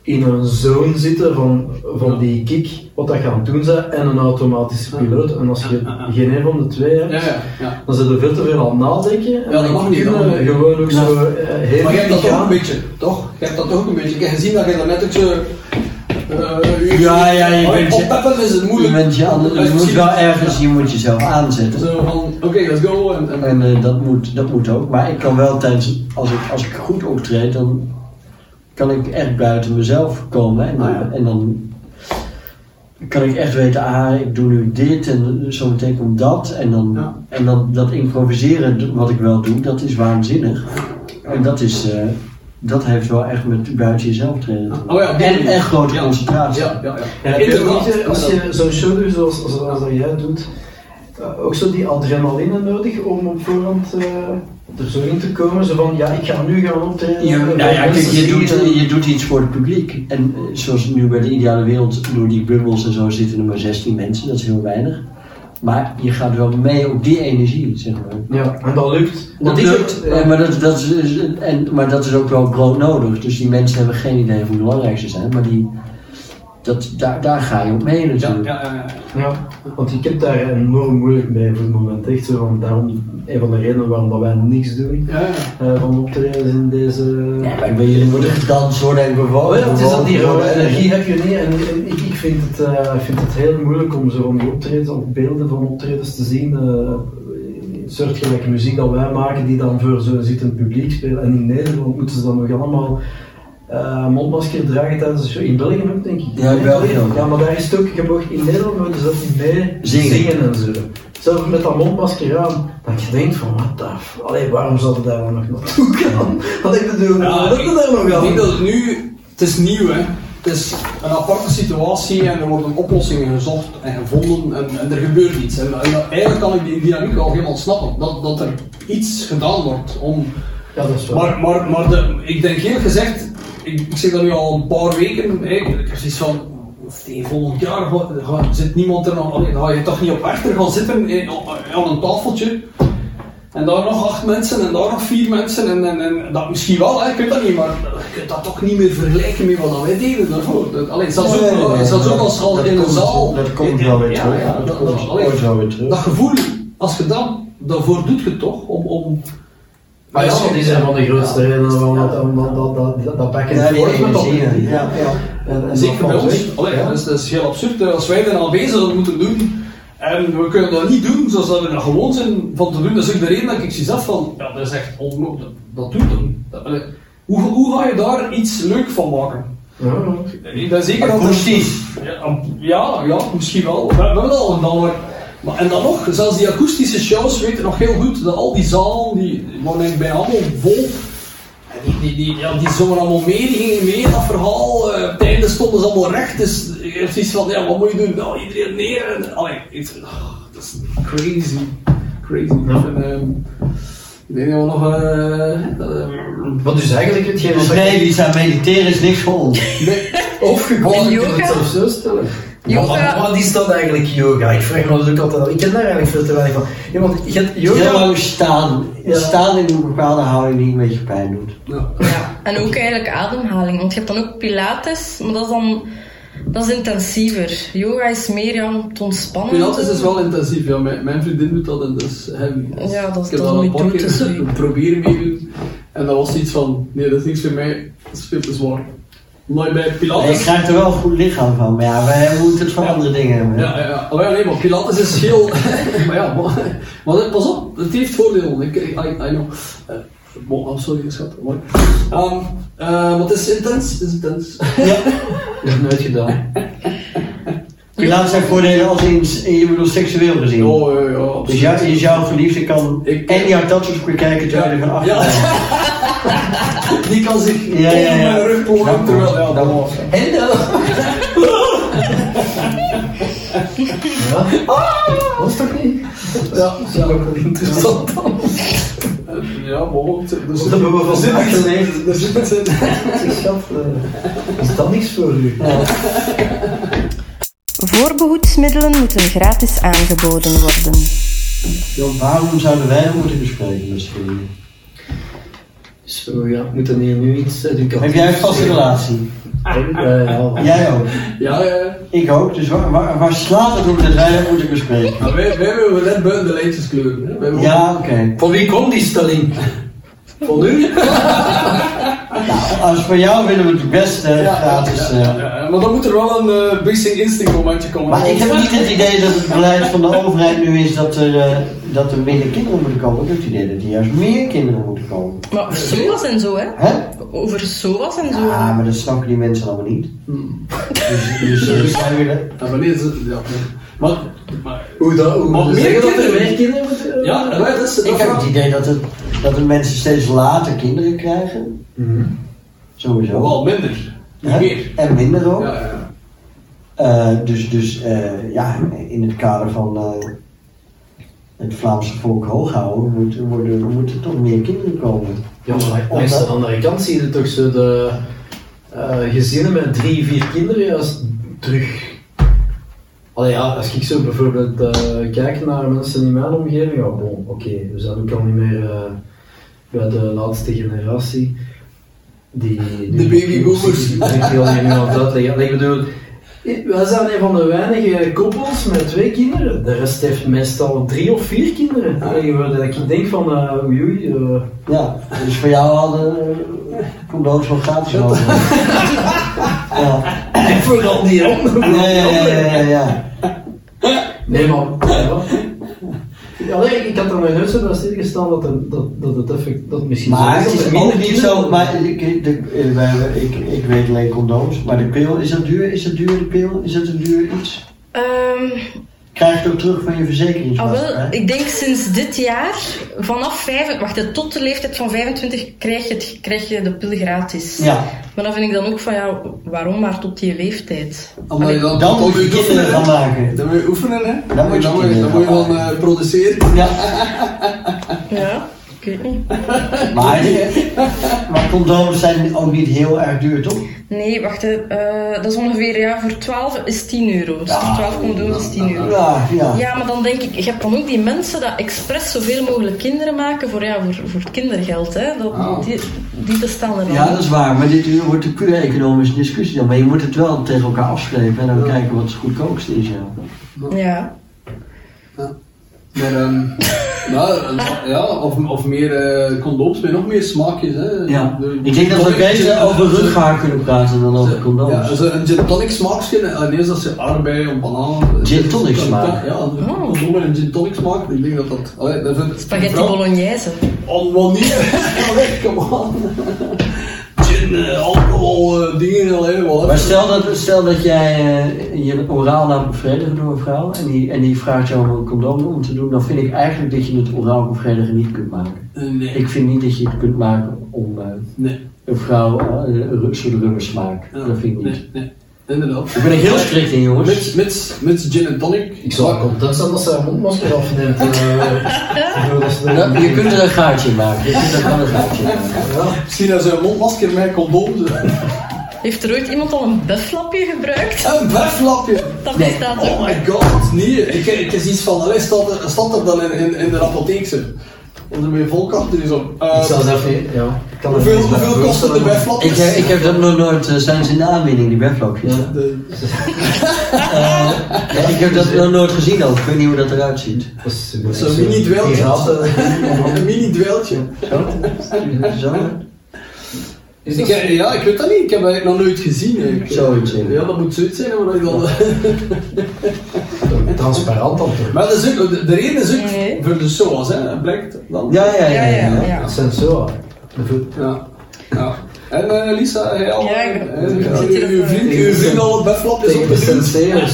in een zone zitten van, van die kick, wat dat je aan het doen bent, en een automatische piloot. En als je geen een van de twee hebt,
ja, ja, ja.
dan zit er veel te veel aan het nadenken. En
Ja, dat
dan
mag niet,
kun je
dat mag niet.
Gewoon ook
Ja.
zo eh, heel
Maar je hebt dat
gaan.
ook een beetje, toch? Je hebt dat ook een beetje. Ik heb gezien dat je dat net ook zo... eh,
Ja, ja, je
Oh,
bent-
oppeppen is het
Je,
moeilijk.
bent je, ander- je moet wel ergens, je moet jezelf aanzetten.
Zo van, oké, let's go. En, en,
En eh, dat, moet, dat moet ook. Maar ik kan wel tijdens, als ik, als ik goed optreed, dan kan ik echt buiten mezelf komen. En dan,
Ah, ja.
en dan kan ik echt weten, ah, ik doe nu dit en zometeen komt dat. En dan,
Ja.
en dan dat improviseren wat ik wel doe, dat is waanzinnig. En dat is, eh, dat heeft wel echt met buiten jezelf trainen te maken.
Oh ja, op die
en,
manier.
en grote
Ja.
concentratie.
ja, ja, ja.
Ja, heb je
dus-
ook niet, eh, als je zo'n show doet zoals, zoals dat jij doet, eh, ook zo die adrenaline nodig om op voorhand eh, er zo in te komen? Zo van, ja, ik ga nu gaan optreden.
Je,
eh,
nou ja, kijk,
mensen
je
zien
doet,
en-
je doet iets voor het publiek. En eh, zoals nu bij de ideale wereld, door die bubbels en zo zitten er maar 16 mensen, dat is heel weinig. Maar je gaat wel mee op die energie, zeg maar.
Ja, en dat lukt.
Dat is
lukt.
ook,
ja.
eh, maar, dat, dat is- is, en, maar dat is ook wel broodnodig. Dus die mensen hebben geen idee hoe belangrijk ze zijn. Maar die, dat, daar, daar ga je op mee
Ja,
natuurlijk.
ja, ja.
Ja, want ik heb daar enorm moeilijk mee voor het moment. Echt zo van, daarom, een van de redenen waarom dat wij niks doen
ja, ja.
eh, van optredens in deze...
Ja, maar bij jullie moet er gedanst worden en bewogen
Oh ja, het is dat
bewogen
die rode
worden.
energie heb je niet en, en ik, ik vind het, eh, ik vind het heel moeilijk om zo van die optredens of beelden van optredens te zien. eh een soort gelijke muziek dat wij maken, die dan voor zo'n zittend publiek spelen. En in Nederland moeten ze dan nog allemaal eh, mondmasker dragen tijdens de show. In België ook, denk ik.
Ja, in België ook.
Ja, maar daar is het ook, je mag in Nederland mogen ze dat niet mee
Zingen.
en zo. Zelfs met dat mondmasker aan, dat je denkt van, wat the f- Allee, waarom zouden daar dan nog naartoe gaan? Wat ik bedoel,
Ja,
waarom dat er daar nog
ik denk
aan?
dat het nu, het is nieuw hè. Het is een aparte situatie en er worden oplossingen gezocht en gevonden en, en er gebeurt iets. En, en dat- eigenlijk kan ik die dynamiek al helemaal snappen, dat, dat er iets gedaan wordt om...
Ja, dat is waar.
Maar, maar, maar de, ik denk heel gezegd, ik, ik zeg dat nu al een paar weken, hè, ik heb zoiets van, of tegen volgend jaar ga- ga- zit niemand er nog, allee, dan ga je toch niet op achter gaan zitten eh, aan een tafeltje. En daar nog acht mensen en daar nog vier mensen. En, en, en dat misschien wel, hè, ik weet dat niet, maar je kunt dat toch niet meer vergelijken met wat wij deden daarvoor. Dat- Allee, zelfs
Nee, nee,
ook,
nee,
zelfs
nee,
ook als
dat-
al
dat
in een
komt-
zaal.
dat komt wel weer
Ja,
terug.
ja,
Dat
dat-
komt
dat- allee,
ooit wel weer terug.
Dat gevoel, als je dat, daarvoor doet je het toch, om, om
Maar ja, want die zijn van de grootste redenen waarom dat, dat, dat, dat, dat, dat bakken
Ja, die
wordt met dat.
energie, ja, ja.
En- en
Zeker
dat
bij
valt
ons.
weg.
Allee, dat, is, dat is heel absurd. hè. Als wij dan al bezig dat moeten doen, en we kunnen dat niet doen zoals dat we er gewoon zijn van te doen, dat is ook de reden dat ik zie zelf van, ja, dat is echt onmogelijk. Dat doet hem. Dat- allee, Hoe, hoe ga je daar iets leuk van maken?
Ja, ja.
Ik ben zeker dat er-
Akoestisch.
ja, ja, ja, misschien wel. We, we hebben dat al gedaan, maar, maar... En dan nog, zelfs die akoestische shows weten nog heel goed dat al die zalen, die waren bij allemaal vol. En die, die, die, ja, die zongen allemaal mee, die gingen mee in dat verhaal. eh, op het einde stonden ze allemaal recht, dus je hebt zoiets van, ja, wat moet je doen? Nou, iedereen neer. En, allee, het, ah, dat is crazy. Crazy. En, ehm, ik denk dat we nog... eh, dat, eh,
Wat dus eigenlijk hetgeen
Dus
wat
nee, die zijn mediteren is niks voor ons.
nee, of
Ik
gewoon...
kan
Yoga?
het zelf zo stellen.
Yoga.
Wat, wat is dat eigenlijk yoga? Ik vraag me dat ook altijd. af. Ik ken daar eigenlijk veel te weinig van. Ja, want je hebt
Heel
yoga.
lang staan.
Ja.
Staan in een bepaalde houding die een beetje pijn doet.
Ja.
Ja, en ook eigenlijk ademhaling. Want je hebt dan ook pilates, maar dat is dan... Dat is intensiever. Yoga is meer ja, om te ontspannen.
Pilates is dus wel intensief, ja. Mijn, mijn vriendin doet dat en dat is heavy.
Ja, dat is
Ik
toch
heb dat een
niet
paar
toe te
keer
zien.
proberen meedoen. En dat was iets van, nee, dat is niks voor mij, dat is veel te zwaar. Maar bij
Ja, Je
Pilates...
krijgt er wel een goed lichaam van, maar ja, wij moeten het voor
Ja.
andere dingen hebben.
Ja, ja, ja. Allee, nee, maar Pilates is heel... maar ja, maar, maar dit- pas op, het heeft voordelen. Ik, ik, I, I know. Eh, bon, oh, sorry, schat. Maar, Ehm eh, maar het is intens, het is intens.
Hm.
Ik heb het nooit gedaan.
Pilates zijn voordelen als in, in- je bedoelt seksueel gezien.
Oh, ja, ja, absoluut.
dus jou, is jouw verliefde kan
Ik-
en jouw tattoos bekijken terwijl je
Ja.
van achter
Ja.
bent.
Die kan zich
Ja, ja, ja.
onder mijn rug
Dat
plakken terwijl...
klopt,
Ja,
dat
dat
klopt.
En... eh,
Ja? Dat is toch niet?
Ja,
Dat is ook wel interessant.
Ja, mogelijk. Er
Dat hebben we van
zit niks in.
98.
Er zit niks in.
Schat, eh, is dat niks voor u?
Voorbehoedsmiddelen moeten gratis aangeboden worden.
Joh, Waarom zouden wij dat moeten bespreken misschien?
Dus we gaan- moeten hier nu iets educatiefs...
Heb jij een vaste relatie?
Eh, ja.
Jij ook.
Ja, ja, ja.
Ik ook, dus waar, waar, waar slaat het op dat wij dat moeten bespreken?
Maar wij, wij hebben net buiten de lijntjes kleuren. Hè. Wij hebben-
Ja, oké.
Van wie komt die stelling? Van u?
Als voor jou willen we het beste
Ja,
gratis.
ja,
eh.
ja, ja. Maar dan moet er wel een eh, Basic Instinct momentje komen.
Maar ik heb niet het idee dat het beleid van de overheid nu is dat er, eh, dat er minder kinderen moeten komen. Ik heb het idee dat er juist meer kinderen moeten komen.
Maar over SOA's en zo, hè.
Hè?
Over SOA's en zo.
Ja, maar dat snappen die mensen allemaal niet. Dus, dus eh, zij willen...
Ja, maar nee, ze- ja, nee. Maar, maar...
Hoe dat? Hoe
Maar
we
meer
zeggen dat er
kinderen?
meer kinderen moeten...
Ja, ja, dat is...
Ik heb het idee dat, het, dat de mensen steeds later kinderen krijgen.
Mhm.
Sowieso.
Wel minder. Niet
Hè?
meer.
En minder ook.
Ja, ja, ja.
Eh, dus dus eh, ja, in het kader van eh, het Vlaamse volk hooghouden moeten worden, moeten toch meer kinderen komen.
Ja, maar
Om
langs de
dat-
andere kant zie je toch zo de eh, gezinnen met drie, vier kinderen juist terug. Allee, ja, als ik zo bijvoorbeeld eh, kijk naar mensen in mijn omgeving, ja, bon, oké, we zijn ook al niet meer eh, bij de laatste generatie. Die, die-
De babyboomers.
Ik denk die al hier nu aan het uitleggen. Allee, Ik bedoel, wij zijn een van de weinige koppels met twee kinderen. De rest heeft meestal drie of vier kinderen. Allee, waar dat ik denk van, eh oei oei, eh,
Ja, dus voor jou hadden eh, condooms wel gratis over. Ja.
En vooral die andere.
Ja, ja, ja, ja, ja.
Nee, man. Ja. Allee, ik had er nog nooit zo bij stilgestaan dat, er- dat, dat het effect, dat misschien
Maar het
dat
is
er
ook
minder
niet
kinderen-
zo, maar ik, ik- de, eh, wij hebben- ik, ik weet alleen condooms, maar de pil, is dat duur? Is dat duur, de pil? Is dat een duur iets?
Ehm,
Krijg je het ook terug van je
ah, wel,
verzekeringsmaatschappij?
ik denk sinds dit jaar, vanaf vijf, wacht, hè, tot de leeftijd van 25 krijg je, het, krijg je de pil gratis.
Ja,
Maar dan vind ik dan ook van ja, waarom maar tot die leeftijd?
Omdat je dan,
dan
dan
moet je kinderen gaan maken.
Dan moet je oefenen, hè?
Dan moet je
dan moet je,
kinderen
dan moet je
gaan
wel eh, produceren.
Ja,
Ja, ik weet niet.
maar, maar condooms zijn ook niet heel erg duur, toch?
Nee, wacht, hè, eh, dat is ongeveer, ja, voor 12 is 10 euro. Dus
Ja,
voor 12 condooms is 10 euro.
Ja, ja.
Ja, maar dan denk ik, je hebt dan ook die mensen dat expres zoveel mogelijk kinderen maken voor, ja, voor, voor het kindergeld. Hè. Dat,
Ah.
die, die bestaan er dan.
Ja, dat is waar, maar dit wordt een puur economische discussie dan. Maar je moet het wel tegen elkaar afspreken en dan
Ja.
kijken wat het goedkoopste is. Ja.
Ja.
Maar, ehm, nou, eh, ja, of, of meer eh, condooms met nog meer smaakjes, hè?
Ja.
De-
Ik denk dat we
tonic-
beter over rughaar kunnen praten dan over
Ja,
condooms.
zo een gin tonic smaakje, en ineens als je aardbei of eh, banaan...
Gin tonic smaak.
Ja, een
Oh.
condoom met een gin tonic smaak, ik denk dat dat... Allee, dat vindt-
Spaghetti
vrouw- Oh,
bolognese.
On manier, allee, come on. Gin, eh, alcohol, eh, dingen, allee, wat.
Maar stel dat, stel dat jij eh, je oraal laat bevredigen door een vrouw en die, en die vraagt jou om een condoom om te doen, dan vind ik eigenlijk dat je het oraal bevredigen niet kunt maken.
Eh, Nee,
Ik vind niet dat je het kunt maken om eh,
nee,
een vrouw eh, een ru- zo'n rubbersmaak.
ja,
Dat vind ik niet.
nee, nee, inderdaad.
Ik ben er heel strikt in, jongens.
Mits, mits, mits gin en tonic.
Ik zou
Maar-
content zijn als ze haar mondmasker afneemt. eh, voordat ze de-
Ja, Nou, je kunt er een gaatje in maken. Je kunt er wel een gaatje in maken.
Ja.
Misschien als een mondmasker met condoom.
Heeft er ooit iemand al een bufflapje gebruikt?
Een bufflapje.
Dat
Nee.
bestaat ook.
Oh my god, nee. Ik, ik is iets van, allee, staat er, staat er dan in, in, in de apotheek zo? Of er weer volk achter is op.
Ik zou zelf niet, ja. ik kan het
Eh, hoeveel,
niet
hoeveel
voorstellen,
kosten de
maar-
bufflapjes?
Ik, heb- ik heb dat nog nooit, eh, zijn ze in de aanbieding, die webvlogjes?
Ja.
De-
Ja, ik heb dat nog nooit gezien ook, ik weet niet hoe dat eruit ziet.
Dat is
Zo'n mini-dweiltje.
Die gaten, eh,
Een mini dweiltje.
Zo, hè?
Is
Ik,
dat-
heb- ja, ik weet dat niet. Ik heb dat eigenlijk nog nooit gezien. hè. Ik-
Zoiets, hè.
Ja, dat moet zoiets zijn. hè, Maar, dat je dan,
transparant dan toch?
maar dat is ook, de, de reden is ook
Nee.
voor de SOAS, hè. Blijkt dan.
ja, ja, ja. ja, ja.
Dat zijn zo. eh, De voet-
Ja. ja. En eh, Lisa, jij al?
Ja, ik-
eh,
ik
ja,
zit
uw-
hier
uw
op,
vriend,
eh,
uw vriend al bufflapjes op
Tegen
de
de
grens.
senseers.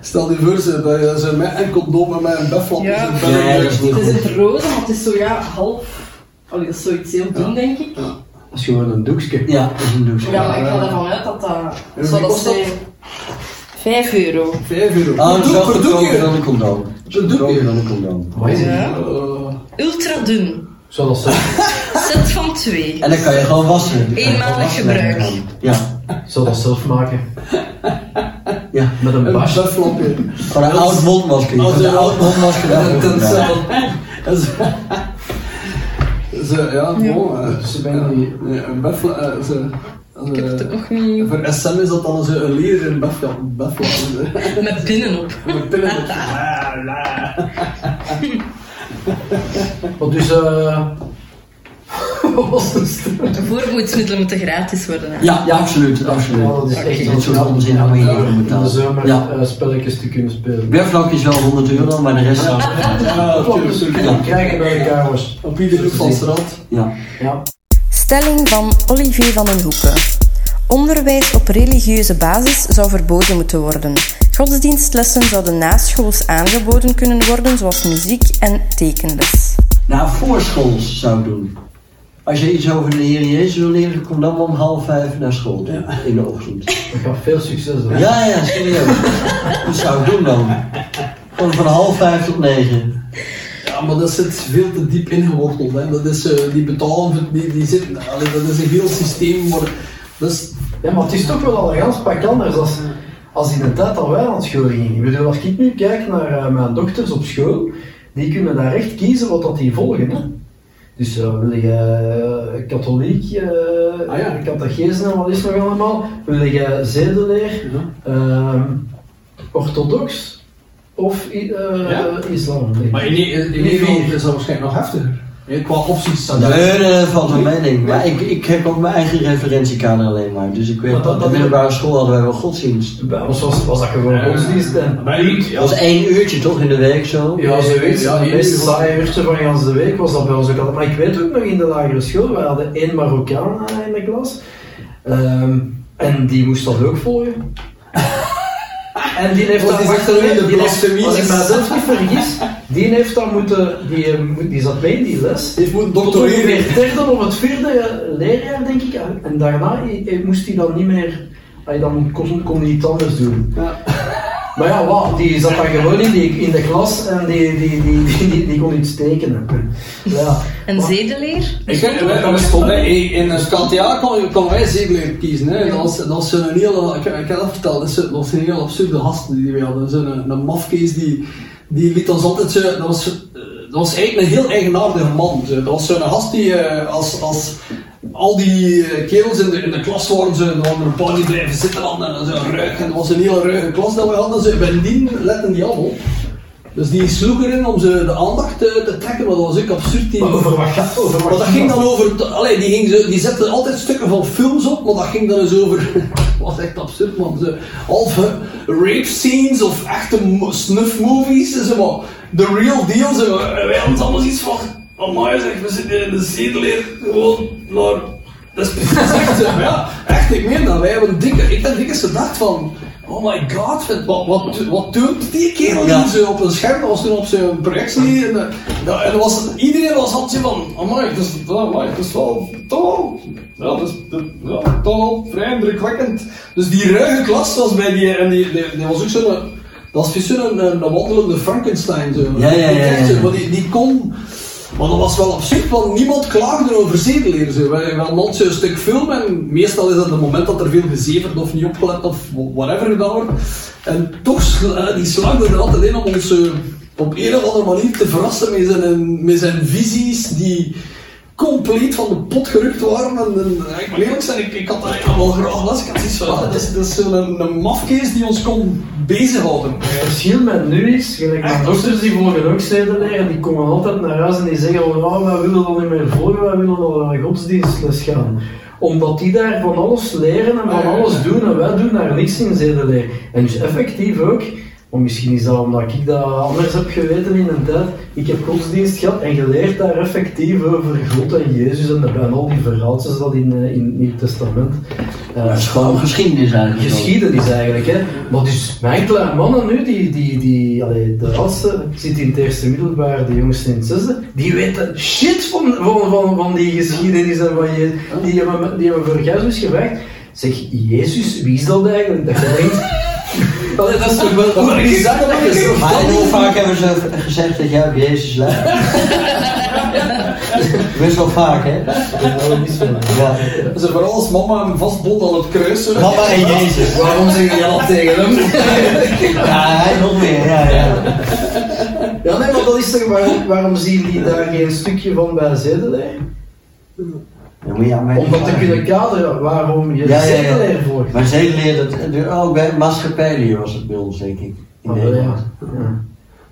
Stel je voor ze, dat ze met een condoom en met een dus bufflapje
Ja.
zitten.
Nee, dat is niet
Het is in
goed.
het roze, maar het is zo ja, half. Allee, dat is zoiets heel dun, denk ik.
Dat is gewoon een doekje.
Ja, dat is een douche.
Ja, maar ik ga ervan uit dat dat.
En
Zou dat
kost dat?
zijn? 5 euro.
5 euro.
Oh, het is wel
Verdoek, verdoekje.
goedkoper dan een condoom. Het is
Verdoekje.
goedkoper dan een condoom.
Wat is het?
Ja.
Eh,
Ultra dun.
Zou dat zo?
Set van 2.
En dan kan je gewoon wassen. Dan kan je gewoon
Eenmalig
Oh,
wassen.
gebruik.
Ja,
Zou dat zelf maken?
ja.
Met een
Een
basje?
bufflapje.
Van een oud mondmasker. Je
Als
kunt
je
een
wel-
oud mondmasker
Ja,
daarvoor
dat is,
gebruiken.
eh, dat is- Ze, ja, mooi. eh,
Ze zijn Dus die-
ja, Een buffla... eh, ze-
Ik heb het ook
eh,
nog niet
Voor SM is dat dan zo een leren buffla. buffla.
met pinnen op.
Met pillen. Ah, la.
Want dus, eh. Wat was dat?
Voorvoedingsmiddelen moeten gratis worden. hè.
Ja, ja, absoluut,
Ja,
absoluut.
dat is echt
Dat soort
om
onzin hou je niet van
In de
betaald.
zomer
Ja.
eh, spelletjes te kunnen spelen.
Webvlog is wel 100 euro, maar de rest zou...
Ja, natuurlijk,
Dan
natuurlijk.
krijgen we elkaar, jongens.
Ah, Op iedere hoek van de straat.
Ja.
Ja.
Stelling van Olivier van den Hoeken. Onderwijs op religieuze basis zou verboden moeten worden. Godsdienstlessen zouden naschools aangeboden kunnen worden, zoals muziek en tekenles.
Nou, voorschools zou ik doen. Als je iets over de Heer Jezus wil leren, kom dan om half vijf naar school toe, in de ochtend.
We gaan veel succes doen.
Ja, ja, serieus. Dat zou ik doen dan. Gewoon van half vijf tot negen.
Ja, maar dat zit veel te diep ingeworteld. Hè. Dat is, eh, die betalen, die, die zitten, allee, dat is een heel systeem. Maar, dat is,
Ja, maar het is toch wel al een gans pak anders als, als in de tijd dat wij aan school gingen. Ik bedoel, als ik nu kijk naar eh, mijn dokters op school, die kunnen daar echt kiezen wat dat die volgen. Hè? Dus eh, wil je eh, katholiek, eh
Ah, ja.
catechese en wat is nog allemaal? Wil je zedeleer, ehm, orthodox eh, of i- eh,
Ja.
islam? Nee.
Maar in, in, in
Nee,
Nederland
vier.
is dat waarschijnlijk nog heftiger. Ja, qua opties zijn daar.
Nee, nee, dat eh, valt me mee, denk ik. Maar ik, ik heb ook mijn eigen referentiekader alleen maar. Dus ik weet,
Maar dat-
op de
dat-
middelbare school hadden wij wel godsdienst.
Dus Bij ons was, was dat gewoon godsdienst en...
Bij u?
Dat was één uurtje toch in de week zo?
Ja, zoiets.
Ja,
Ja,
hier
het meest
is-
saaie uurtje van gans de week was dat bij ons ook altijd. Maar ik weet ook nog in de lagere school, we hadden één Marokkaan eh, in de klas. Ehm, en die moest dat ook volgen. En die heeft
Wat
dat...
is
wacht
dat nu in de
even, die heeft,
blasfemie?
als ik mezelf niet vergis, die heeft dat moeten... Die, eh, moet- die zat mee in die les.
Dit moet
Tot ongeveer
doctoreren.
het derde of het vierde leerjaar, denk ik. En daarna eh, moest hij dan niet meer... hij Dan kon, kon hij iets anders doen.
Ja.
Maar ja, wat, die zat dan gewoon in, die, in de klas en die, die, die, die, die, die kon iets tekenen. Ja.
En zedeleer?
Ik weet wij- wij stonden in in een KTA kon, kon wij zeker kiezen. Hè. Dat was, dat was zo'n hele, ik, ik heb dat verteld, dat is- dat was een heel absurde gast die we hadden. Zo'n eh, een, mafkees die, die liet ons altijd zo, dat was, eh, dat was eigenlijk een heel eigenaardige man. zo. Dat was zo'n gast die eh, als, als al die eh, kerels in de, in de klas waren, ze dan waren er een paar die blijven zitten aan en zo ruiken. Dat was een hele ruige klas dat we hadden. Ze, bendien letten die allemaal op. Dus die sloeg erin om ze de aandacht eh, te trekken, maar dat was ook absurd. Die,
Maar over wat gaat over
maar
wat
dat ging dan over. t- Allee, die, ging zo, die zette altijd stukken van films op, maar dat ging dan eens over. was echt absurd, man. Zo, halve rape scenes of echte mo- snuff movies. Zo, maar the real deal. Zo, en wij hadden allemaal iets van. Amai, zeg, we zitten in de zedeleer gewoon naar. Dat is precies echt zo. maar Ja, echt, ik meen dat. Wij hebben dikke. Ik heb dikke gedacht van. Oh my god, wat, wat, wat, wat doet die kerel
Ja.
hier zo op een scherm? Dat was toen op zijn projectie. En, eh, ja, en er was, iedereen was altijd zo van, amai, dat is, amai, dat is wel, toch wel- ja, dat is, dat- ja, toch wel vrij indrukwekkend. Dus die ruige klas was bij die, en die, die, die was ook zo'n, dat was precies zo'n eh, een, een wandelende Frankenstein. Zo.
Ja, ja, ja, ja,
Echt zo,
ja.
maar die, die kon... Maar dat was wel absurd, want niemand klaagde over zedeleren. Zo. Wij, wij hadden altijd zo'n stuk film en meestal is dat het moment dat er veel gezeverd of niet opgelet of whatever gedaan wordt. En toch sla- eh, die slaagde er altijd in om ons eh, op een of andere manier te verrassen met zijn, met zijn visies die compleet van de pot gerukt waren. En, en, ja, ik moet eerlijk zijn, ik, ik had daar eigenlijk wel graag les. Ik had zoiets van, ja, dat is, dat is zo'n een mafkees die ons kon bezighouden.
Het verschil met nu is, gelijk mijn dokters die volgen ook zedeleer, die komen altijd naar huis en die zeggen van oh, wij willen dat niet meer volgen, wij willen dat we naar godsdienstles gaan. Omdat die daar van alles leren en van alles doen en wij doen daar niks in zedeleer. En dus effectief ook, maar misschien is dat omdat ik dat anders heb geweten in een tijd, ik heb godsdienst gehad en geleerd daar effectief over God en Jezus en er zijn al die verhaaltjes dat in, eh, in het Nieuw Testament eh,
Dat is gewoon geschiedenis eigenlijk. ook.
geschiedenis eigenlijk. Hè. Maar dus mijn kleine mannen nu, die, die, die, allee, de oudste zit in het eerste middelbaar, de jongste in het zesde, die weten shit van, van, van, van die geschiedenis en van je, die hebben, die hebben voor Jezus gevraagd. Zeg, Jezus, wie is dat eigenlijk? Dat je denkt... Allee, dat is toch wel...
Maar ik zeg dat ik zo-
Maar heel vaak hebben ze gezegd dat jij op Jezus lijkt. Best wel vaak, hè? Ja.
Ze vooral als mama hem vastbond aan het kruis. zo.
Mama en Jezus.
Waarom zeg je dat tegen hem?
Ja, hij nog meer, ja, ja.
Ja, nee, maar dat is toch... Waarom, waarom zien die daar geen stukje van bij zedeleer?
Dan moet je aan mij
Om dat te kunnen kaderen, waarom je
Ja, ja, ja.
zedeleer voor
Maar zij leert dat... Ook bij Mascarpelli was het bij ons, denk ik. In
Oh,
Maar wel,
Nederland.
ja. Oh, Ja.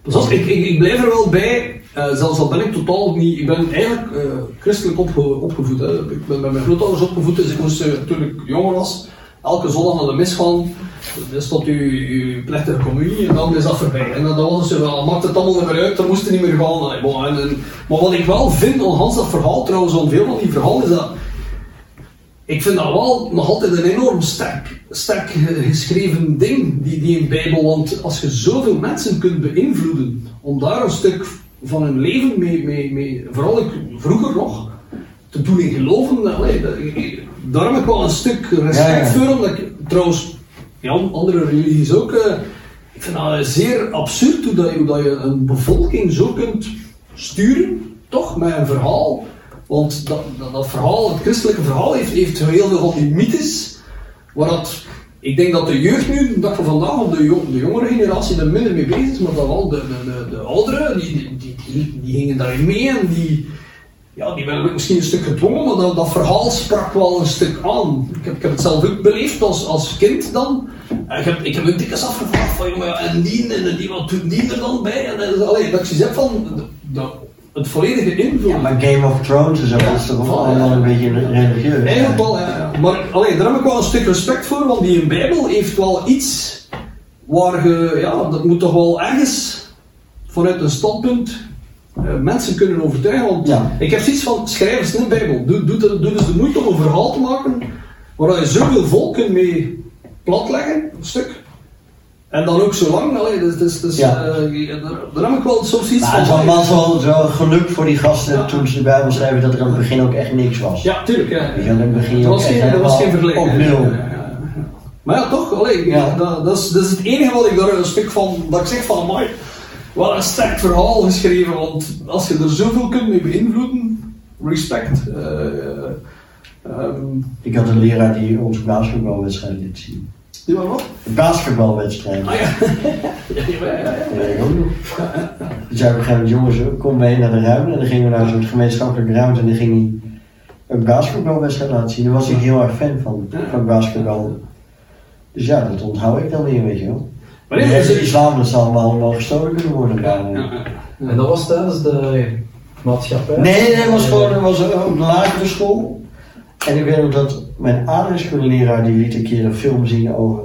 Zoals, Dus ik, ik, ik blijf er wel bij, eh, zelfs al ben ik totaal niet. Ik ben eigenlijk eh, christelijk opge- opgevoed. Hè. Ik ben bij mijn grootouders opgevoed, dus ik moest eh, toen ik jonger was elke zondag naar de mis gaan. Dus tot uw, uw plechtige communie en dan is dat voorbij. En dan, dan was het zo van, maakt het allemaal niet meer uit, dan moest het niet meer gaan. Allee, bon, en- en- maar wat ik wel vind, ondanks dat verhaal trouwens, om veel van die verhalen, is dat ik vind dat wel nog altijd een enorm sterk, sterk eh, geschreven ding, die, die in Bijbel. Want als je zoveel mensen kunt beïnvloeden om daar een stuk van hun leven mee, mee, mee vooral ik, vroeger nog, te doen in geloven, dat- allee, dat- ik- ik- daar heb ik wel een stuk respect
Ja, ja.
voor. Omdat ik trouwens, ja, andere religies ook, eh, ik vind dat zeer absurd hoe, dat je, hoe dat je een bevolking zo kunt sturen, toch, met een verhaal. Want dat, dat, dat verhaal, het christelijke verhaal, heeft, heeft heel veel van die mythes. Waar dat, ik denk dat de jeugd nu, de dag van vandaag, of de, jo- de jongere generatie, er minder mee bezig is. Maar dat wel de, de, de, de ouderen, die, die, die, die, die gingen daarin mee en die, ja, die werden ook misschien een stuk gedwongen. Maar dat, dat verhaal sprak wel een stuk aan. Ik heb, ik heb het zelf ook beleefd als, als kind dan. En ik heb, ik heb ook dikwijls afgevraagd van, jongen, en die, en die, wat doet die er dan bij? En, en, allee, dat ik zoiets heb van, de, de- het volledige invullen.
Ja, maar Game of Thrones en zo
Ja.
dat is toch ook
Oh, ja.
allemaal een beetje religieus.
Eigenlijk wel, ja. Maar allee, daar heb ik wel een stuk respect voor, want die Bijbel heeft wel iets waar je, ja, dat moet toch wel ergens vanuit een standpunt eh, mensen kunnen overtuigen. Want
Ja.
ik heb zoiets van: schrijf eens een Bijbel. Doe, doe, de- doe dus de moeite om een verhaal te maken waar je zoveel volken mee platleggen, een stuk. En dan ook zo lang, allee, dus, dus, dus,
Ja.
eh, daar, daar heb ik wel soms iets
Maar het
van.
was wel zo geluk voor die gasten
Ja.
toen ze de Bijbel schrijven dat er aan het begin ook echt niks was.
Ja, tuurlijk. Ja.
Weet je, aan het begin
Er
ook
was
echt
geen, er was geen
helemaal
vergelijking.
op nul.
Maar ja, toch, allee,
Ja.
Dat, dat, is, dat is het enige wat ik daar een stuk van, dat ik zeg van, amai, wat een sterk verhaal geschreven, want als je er zoveel kunt mee beïnvloeden, respect. Eh, eh, ehm,
Ik had een leraar die onze basketbalwedstrijd liet zien.
die waren wat?
De basketbalwedstrijd.
Ah ja. ja, ja, ja, ja.
Dat weet ik ook nog. Dus zei op een gegeven moment, jongens, kom mee naar de ruimte. En dan gingen we naar zo'n gemeenschappelijke ruimte en dan ging hij een basketbalwedstrijd laten zien. Daar was ik heel erg fan van, van basketbal. Dus ja, dat onthoud ik dan weer, weet je wel.
Maar
De
nee, dus, eh, dat
hele
is-
islam, dat zou allemaal, allemaal gestolen kunnen worden. maar, eh.
En dat was tijdens de maatschappij.
Nee, nee, het was gewoon het was eh, op de lagere school. En ik weet nog dat mijn aardrijkskundeleraar die liet een keer een film zien over.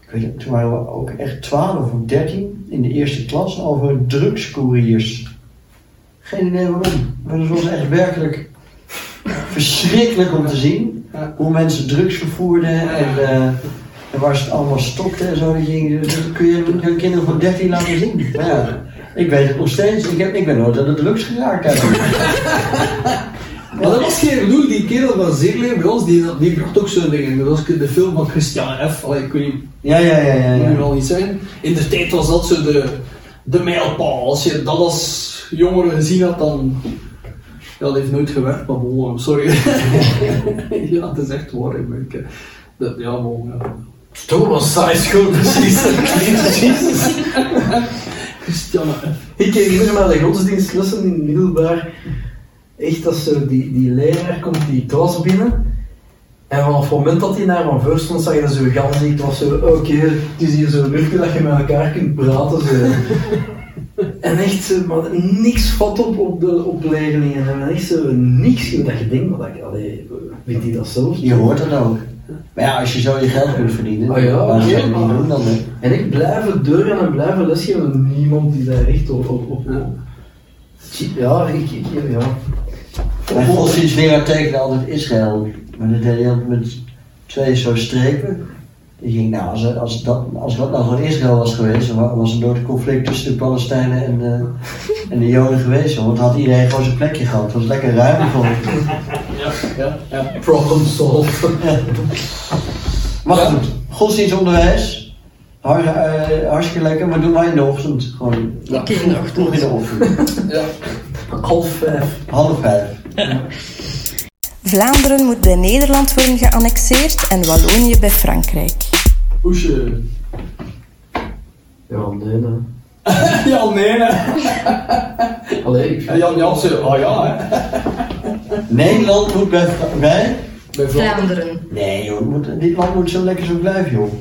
Ik weet niet, toen waren we ook echt 12 of 13 in de eerste klas over drugscouriers. Geen idee waarom. Maar het was echt werkelijk verschrikkelijk om te zien
Ja.
hoe mensen drugs vervoerden en, eh, en waar ze het allemaal stopten en zo. Dat je- dat kun je aan kinderen van 13 laten zien. Maar ja, ik weet het nog steeds. Ik, heb, ik ben nooit aan de drugs geraakt. eigenlijk.
Maar dat was geen gedoe, die kerel van Zeerleer bij ons, die, die bracht ook zo'n dingen. Dat was ook de film van Christian F., allee, ik weet niet
Ja, ja, ja, ja.
moet
ja.
nu al niet zijn. In de tijd was dat zo de, de mijlpaal. Als je dat als jongere gezien had, dan. Ja, dat heeft nooit gewerkt, maar bon, I'm sorry. ja, het is echt waar. Ik denk, eh, dat, ja, bon, ja.
Toen was saai school precies. Jezus.
Christiane F.
Ik kreeg hier maar de godsdienstlessen in het middelbaar. Echt als zo die, die leraar komt die klas binnen. En vanaf het moment dat hij naar van voor stond, zag je zo gans niet. Het was zo, oké, het is hier zo'n nurkje dat je met elkaar kunt praten. Zo. En echt, zo, maar niks vat op op de op de leerlingen. En echt zo, niks. Dat je denkt, maar dat, allee, vindt hij dat zelf?
Je hoort dat ook. Maar ja, als je zo je geld kunt verdienen,
Ah ja,
waarom zou je
oké,
dat niet
maar-
doen dan? hè?
En ik blijf het deuren en blijven lesgeven. Niemand die daar echt op. op, op, op. Ja, ik, ik, ja.
Mijn godsdienstleraar tekende altijd Israël. Maar dat deed hij altijd met twee zo strepen. Ik denk, nou, als, als, dat, als dat nou gewoon Israël was geweest, dan wa- was er nooit een conflict tussen de Palestijnen en, eh, en de Joden geweest. hoor. Want dan had iedereen gewoon zijn plekje gehad. Het was lekker ruim voor.
Ja, ja.
Problem solved.
Maar
Ja.
goed, godsdienstonderwijs. Har, eh, hartstikke lekker, maar doen wij in de ochtend. Gewoon
Ja.
Oké, nog.
vroeg in de ochtend.
ja.
Half vijf.
Half vijf.
Vlaanderen moet bij Nederland worden geannexeerd en Wallonië bij Frankrijk.
Hoesje.
Ja, nee, nee.
Jan nee, hè.
Allee, ik
En Jan Jansen, oh ja, hè.
Nederland moet bij, Fra- bij
Bij Vlaanderen.
Vlaanderen.
Nee joh, het moet- dit land moet zo lekker zo blijven joh.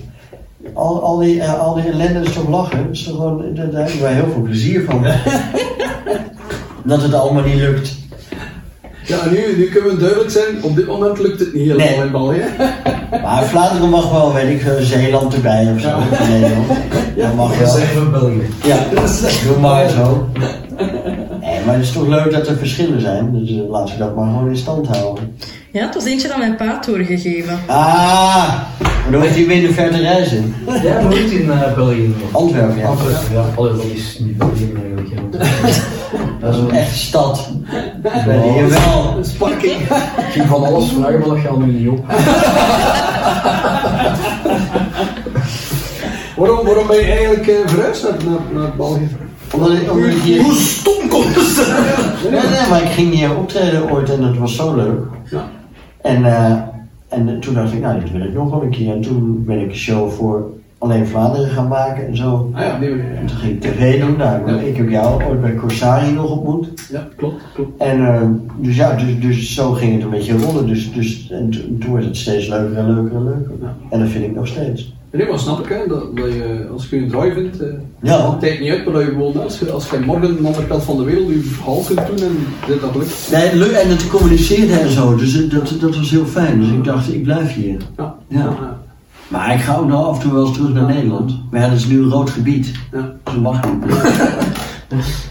Al, al, die, eh, al die ellende is toch lachen? Is toch gewoon, daar daar hebben wij heel veel plezier van. dat het allemaal niet lukt.
Ja, nu, nu kunnen we duidelijk zijn, op dit moment lukt het niet helemaal
Nee.
in België.
Maar Vlaanderen mag wel, weet ik, veel, Zeeland erbij of zo. Nee joh, dat mag wel.
van België.
Ja,
Dus,
doe maar zo. Nee, maar het is toch leuk dat er verschillen zijn. Dus eh, laten we dat maar gewoon in stand houden.
Ja, het was eentje dat mijn pa had doorgegeven.
Ah, maar dan heeft hij weer de verte reizen.
Jij woont in eh, België nog.
Antwerpen, ja.
Antwerpen, ja. Allee, dat is niet België eigenlijk.
Dat is een echte stad. Ben je wel.
Sparking.
Ik ging van alles vragen, maar dat gaat nu niet op.
Waarom, waarom ben je eigenlijk eh, verhuisd naar, naar, naar België?
Omdat ik, omdat ik hier...
stom komt het?
Nee, nee, maar ik ging hier optreden ooit en dat was zo leuk.
Ja.
En, eh, en toen dacht ik, nou, dit wil ik nog wel een keer. En toen ben ik een show voor alleen Vlaanderen gaan maken en zo.
Ah ja, nee, nee, nee.
En toen ging ik tv doen, nou,
Ja.
ik heb jou ooit bij Corsari nog ontmoet.
Ja, klopt, klopt.
En eh, dus ja, dus, dus zo ging het een beetje rollen. Dus, dus, en toen, toen werd het steeds leuker en leuker en leuker.
Ja.
En dat vind ik nog steeds.
Nee, maar snap ik, hè, dat, dat je, als je een draai vindt, eh
Ja.
maakt het niet uit, maar dat je bijvoorbeeld als je, als je morgen aan de andere kant van de wereld je verhaal kunt doen en dit dat lukt.
Nee, leuk en het communiceren en zo, dus eh, dat, dat was heel fijn. Dus ik dacht, ik blijf hier.
Ja.
Ja. Maar ik ga ook nog af en toe wel eens terug naar Nederland. Maar ja, dat is nu een rood gebied.
Ja.
Dus dat mag niet.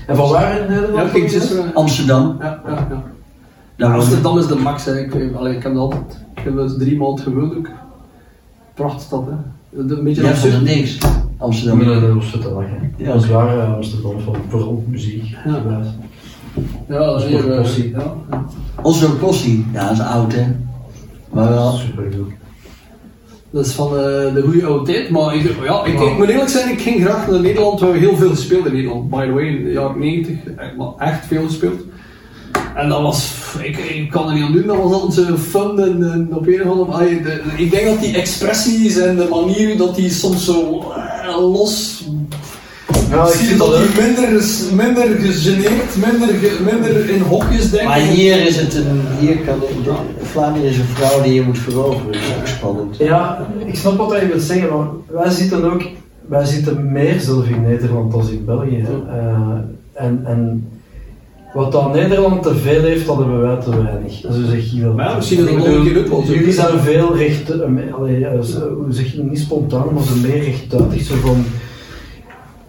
En van waar in Nederland?
Ja, ik denk dat is-
Amsterdam,
ja, ja, ja.
daar was
Amsterdam is de max, hè. Ik, allee, ik heb dat altijd, ik heb wel eens drie maanden gewoond ook. Prachtig stad, hè. Dat- Een beetje
Ja, vond het
absurd.
niks.
Ja, maar
Amsterdam.
dat was te lachen.
Ja.
Dat is waar, eh, Amsterdam, van vooral muziek.
Ja. Ja, dat is
Voor de
hier, eh,
passie.
ja, ja.
Oslo Kossi, ja, dat is oud hè. Maar wel,
Super goed.
Dat is van eh, de goede oude tijd, maar ik, ja, ik, ik moet eerlijk zijn, ik ging graag naar Nederland, we hebben heel veel gespeeld in Nederland. By the way, in de jaren 90, echt, maar echt veel gespeeld. En dat was, ik, ik kan er niet aan doen, dat was altijd zo fun en, en op een of andere manier. de- de- ik denk dat die expressies en de manieren dat die soms zo eh, los
Ja, ik
zie je
vind dat
dat
leuk.
die minder, is- minder gegeneerd, minder, ge- minder in hokjes denken.
Maar hier is het een. Hier kan dit- Vlaanderen is een vrouw die je moet veroveren. Dat is ook spannend.
Ja, ik snap wat je wilt zeggen, maar wij zitten ook, wij zitten meer zelf in Nederland dan in België. hè. Eh, en, en wat dan Nederland te veel heeft, dat hebben wij te weinig. Zo zeg je wel.
Maar ja, misschien dat
Ik
dat
bedoel,
nog een keer uitlossen.
Jullie zijn veel recht, eh, me- allee, eh, zo- hoe zeg je, niet spontaan, maar zo meer rechtduitig. Zo van,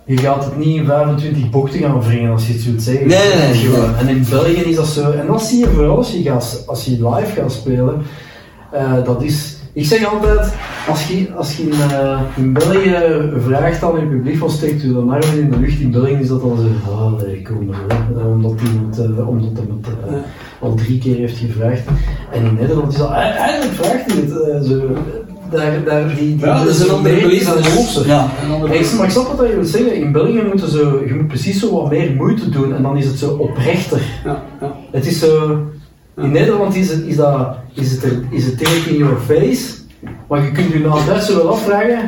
je gaat het niet in 25 bochten gaan wringen als je het wilt zeggen.
Nee, nee, nee.
Gewoon. En in België is dat zo. En dat zie je vooral als je, gaat, als je live gaat spelen. Eh, dat is, ik zeg altijd, als je, als je in, eh, in België vraagt aan je publiek van steekt u dan armen in de lucht, in België is dat dan zo, ah nee, kom maar, hè." Eh, omdat iemand eh, omdat hem het eh,
Ja.
al drie keer heeft gevraagd. En in Nederland is dat, "Ah, eigenlijk vraagt hij het. eh, zo. Daar, daar, die, die-
Ja, dat is een
die-
andere
die-
beleving.
die- die-
Ja.
En andere-
ja, Ik maar ik snap wat je wilt zeggen. In België moeten ze, je moet precies zo wat meer moeite doen en dan is het zo oprechter.
Ja, ja.
Het is zo. In Nederland is het, is dat, is het, er- is het tegen in your face, maar je kunt je na Duits wel afvragen.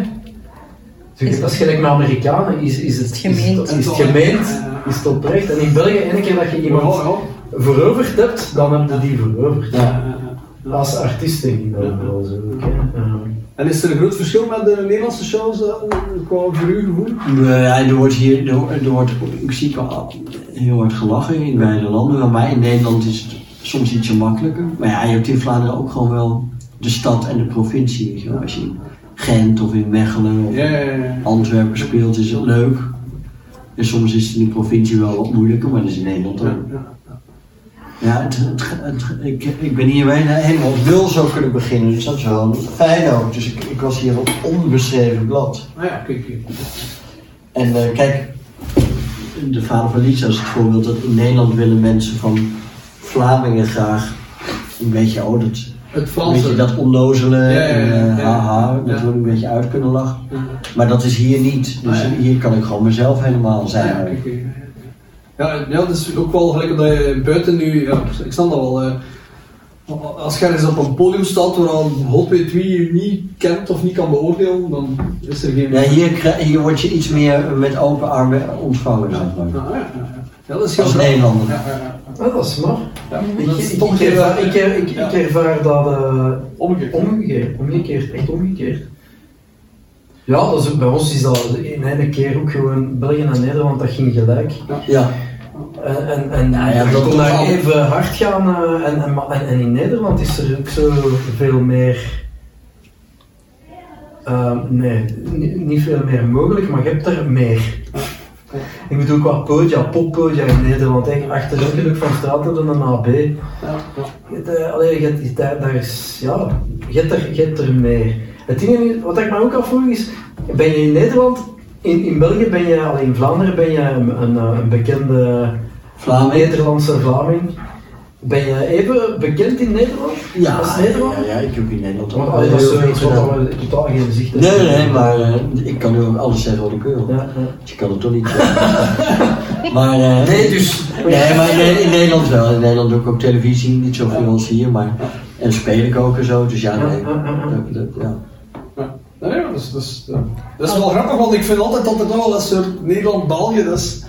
Zeg, Dat is gelijk met Amerikanen. Is, is, het,
Is het gemeend?
Is het, is het gemeend? Is het oprecht? En in België, ene keer dat je iemand
Ja,
veroverd hebt, dan heb je die veroverd.
Ja.
ja, ja.
Als artiest denk ik dat wel zo. ook, hè. Ja.
En is er een groot verschil met de Nederlandse shows eh, qua voor uw gevoel?
Ja, eh, er wordt hier, er, wordt- er wordt in principe al heel hard gelachen in beide landen. Wel, Maar in Nederland is het soms ietsje makkelijker. Maar ja, je hebt in Vlaanderen ook gewoon wel de stad en de provincie. Weet je wel. Als je in Gent of in Mechelen of
Ja, ja, ja.
Antwerpen speelt, is het leuk. En soms is het in de provincie wel wat moeilijker, maar dat is in Nederland ook.
ja.
Ja, het, het, het- ik, ik ben hier bijna helemaal op nul zou kunnen beginnen, dus dat is wel fijn ook. Dus ik, ik was hier op onbeschreven blad.
Ah ja, kijk, kijk.
En eh, kijk, de vader van Lisa is het voorbeeld dat in Nederland willen mensen van Vlamingen graag een beetje, oh dat,
Het
een beetje
Franse.
dat onnozele,
Ja, ja, ja,
en, eh,
ja.
haha, dat
Ja.
we een beetje uit kunnen lachen.
Ja,
Maar dat is hier niet, dus
Ah, ja.
hier kan ik gewoon mezelf helemaal zijn.
ja, kijk, kijk. Ja, ja, dat is ook wel gelijk dat je buiten nu, ja, ik snap dat wel. eh, als je ergens op een podium staat waar al hot weet wie je niet kent of niet kan beoordelen, dan is er geen...
Ja, hier, krijg- hier word je iets meer met open armen ontvangen, zeg maar.
Ah, ja, ja, ja. Ja, dat is heel
Als
grappig.
Nederlander.
Ja, ja, ja.
Ah, dat is smart.
Ja,
Ik,
dat is
ik,
toch
ik, ervaar, ik, er- ik,
Ja.
ik ervaar dat eh,
omgekeerd.
omgekeerd, omgekeerd, echt omgekeerd. Ja, dat is ook, bij ons is dat in ene keer ook gewoon België en Nederland, dat ging gelijk.
Ja.
En, en, en
ja,
je
dat
kon
is
daar
al-
even hard gaan. eh, en, en, maar- en, en in Nederland is er ook zo veel meer. ehm, nee, ni- niet veel meer mogelijk, maar je hebt er meer. Ik bedoel, qua podia, poppodia in Nederland, hè, achter ongeluk van straat tot een AB.
Ja, ja.
Je hebt, eh, Allee, je hebt, je hebt daar, daar is, ja, je hebt er, je hebt er meer. Het ding is, wat ik me ook afvroeg is, ben je in Nederland, in, in België ben je, allee, in Vlaanderen ben je een, een, eh, een bekende
Vlaming.
Nederlandse Vlaming. Ben je even bekend in Nederland?
Ja,
Als Nederland?
ja, ja, ik heb in Nederland
Want
ook
allee, dat is
heel veel
zoiets
gedaan.
wat we totaal geen zicht hebben.
Nee, nee, maar eh, ik kan nu ook alles zeggen wat ik wil.
Ja, ja.
Want Je kan het toch niet zeggen. maar, eh,
Nee, dus-
Nee, maar in, in Nederland wel. In Nederland doe ik ook televisie, niet zoveel als hier, maar... En speel ik ook en zo, dus ja,
Ja,
nee.
ja, ja, ja.
Dat, dat, ja.
Nou Ja, Nee, dat is, dat, is, ja. dat is wel grappig, want ik vind altijd dat er wel dat soort Nederland-België, dat is...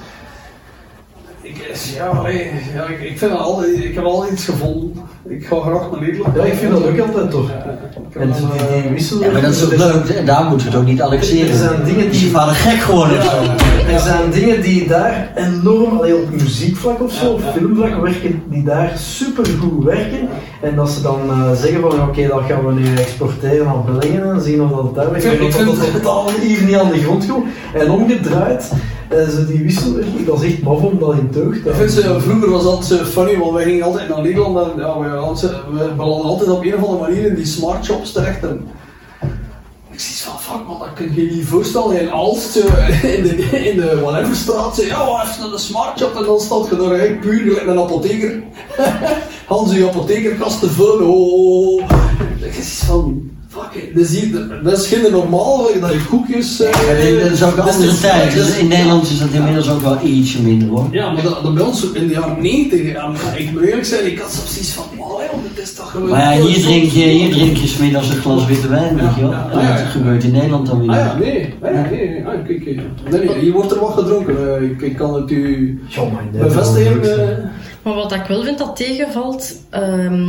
Ik, ja, allee, ja, ik, ik, vind dat al, ik heb al iets gevonden. Ik ga graag naar Nederland.
Ja, ik vind dat ook altijd tof.
Ja, ik heb
En
dan,
die,
eh,
die wissel...
Ja, maar dat is ook leuk, en daar moeten we het ook niet annexeren.
dus- Er zijn dingen die-
Is je vader gek geworden of zo?
Er zijn dingen die daar enorm, alleen op muziekvlak of zo,
Ja,
op
ja.
filmvlak werken, die daar supergoed werken. En dat ze dan eh, zeggen van oké, dat gaan we nu exporteren naar België en zien of dat het daar werkt.
Ik vind-
En
ik
Dat
vind-
dat totaal hier niet aan de grond komt. En omgedraaid, en ze die wisselwerking, dat is echt maf om dat in teug te
Ik vind
houden.
ze, vroeger was dat zo funny, want wij gingen altijd naar Nederland en ja, we, we belanden altijd op een of andere manier in die smart shops terecht. En ik zie van, fuck man, dat kun je je niet voorstellen. In Alst, zo, in de, in de Whateverstraat, zei, ja, we even naar de smart shop en dan stond je daar eigenlijk puur gelijk met een apotheker. Hans, uw apothekerkast te vullen, oh, oh, oh. Ik zie van, fuck, it, dat is, hier, dat is geen normaal, dat je koekjes... eh,
En Dat is ook een
dat is
andere
de-
tijd.
dat is-
Dus in Nederland is dat inmiddels ook wel ietsje minder hoor.
ja, maar dat, dat bij ons in de jaren 90, ja, maar ik moet eerlijk zijn, ik had zo precies van, oh joh, dit is toch gewoon...
Maar ja, hier drink je, hier drink je smiddags een glas witte wijn, weet je wel.
Ja, ja,
En
ja.
dat gebeurt in Nederland dan weer.
Ah ja, nee, ah, ja, nee, nee, ah, kijk, kijk. Nee, nee, hier wordt er wat gedronken, eh, ik, ik kan het u
Ja, maar in Nederland
bevestigen.
is het ook zo.
eh.
Maar wat ik wel vind dat tegenvalt ehm,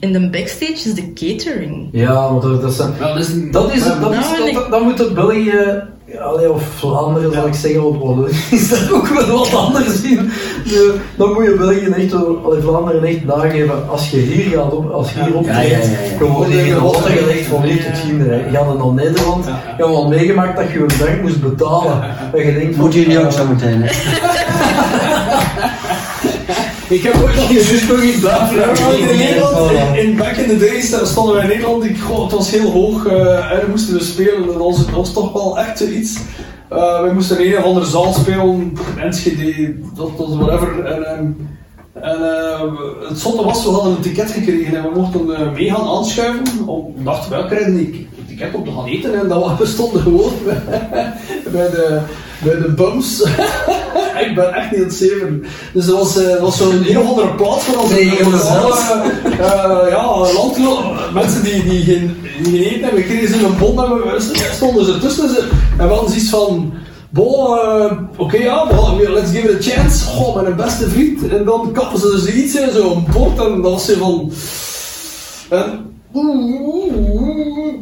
in de backstage is de catering.
Ja, want dat, dat zijn...
Ja, dat is een-
Dat is het, dat, is,
Nou, en
dat,
ik-
dat, dat moet het België, ja, allee, of Vlaanderen zal ik zeggen, want Wallonië is daar ook wel wat anders in. De- dan moet je België echt, wel- allee, Vlaanderen echt nageven, als je hier gaat, op, als je hier optreedt,
ja, ja, ja.
dan word je in de water gelegd van hier
Ja.
tot kinderen. Je gaat dan naar Nederland, je hebt al meegemaakt dat je een bank moest betalen. En je denkt,
Moeten jullie ook zo meteen? hè?
Ik heb ooit al
is toch in Duitsland?
Ja, in Nederland,
Ja.
in, in back in the days, daar stonden wij in Nederland, ik, goh, het was heel hoog eh, en we moesten we spelen. Dat was, dat was toch wel echt zoiets. Eh we moesten in een of andere zaal spelen, Enschede, dat, dat whatever. En, ehm, en eh, het zotte was, we hadden een ticket gekregen en we mochten eh, mee gaan aanschuiven. Om, we dachten wel, krijgen die een ticket om te gaan eten en dat was- we stonden gewoon bij de, bij de bums. ik ben echt niet aan het zeven. Dus dat was, eh, dat was zo'n heel andere plaats voor ons.
Nee, heel zelfs.
Eh, eh, ja, landlo- mensen die, die, geen, die geen eten hebben gekregen, ze een bon hebben, we- stonden ze tussen. Ze, en we hadden zoiets van, bo, eh, oké ja, well, let's give it a chance. Goh, mijn beste vriend. En dan kappen ze dus iets in zo'n bord en dan was ze van... En, oeh, oeh, oeh,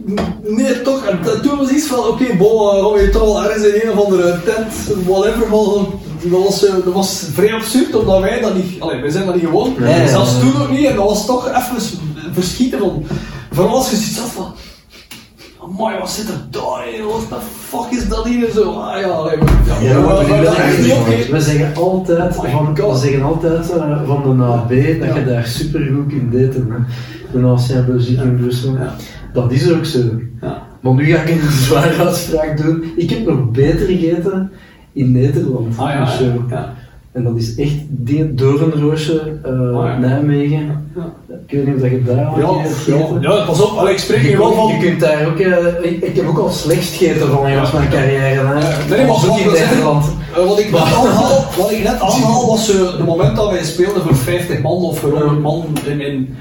nee, toch. En t- toen was iets van, oké, bo, eh, gaan we je toch wel ergens in een of andere tent, whatever, maar dan- dat was, eh, dat was vrij absurd, omdat wij dat niet... Allee, wij zijn dat niet gewoon.
Nee, nee,
Zelfs
nee.
toen ook niet. En dat was toch even s- verschieten van... Vooral als je zoiets had van... Amai, wat zit er daar in? What the fuck is dat hier? En Zo, ah ja, allee, maar- ja,
Ja,
maar-
maar
maar
we-
dat is niet oké.
We zeggen altijd,
Oh my
van, we
God.
zeggen altijd eh, van de AB dat
Ja.
je daar supergoed kunt daten. hè. De Nationale ziet in Brussel.
Ja.
Dat is ook zo.
Ja.
Maar nu ga ik een zware uitspraak doen. Ik heb nog beter gegeten in Nederland.
Ah
of
ja,
zo.
ja.
En dat is echt die doornroosje eh
Oh ja.
Nijmegen. Ik weet niet of dat je daar al
Ja,
een keer hebt
ja,
gegeten.
ja, pas op, allee, ik spreek
Je,
hier wel
kunt-
van...
je kunt daar ook, eh, ik, ik heb ook al slecht gegeten van jongens mijn carrière. Hè.
Eh, Nee, maar
Zoek
wat
in
wil zeggen-
Nederland.
Eh, wat, ik net aanhaal, wat ik net aanhaal was eh, het moment dat wij speelden voor 50 man of voor 100 man in, in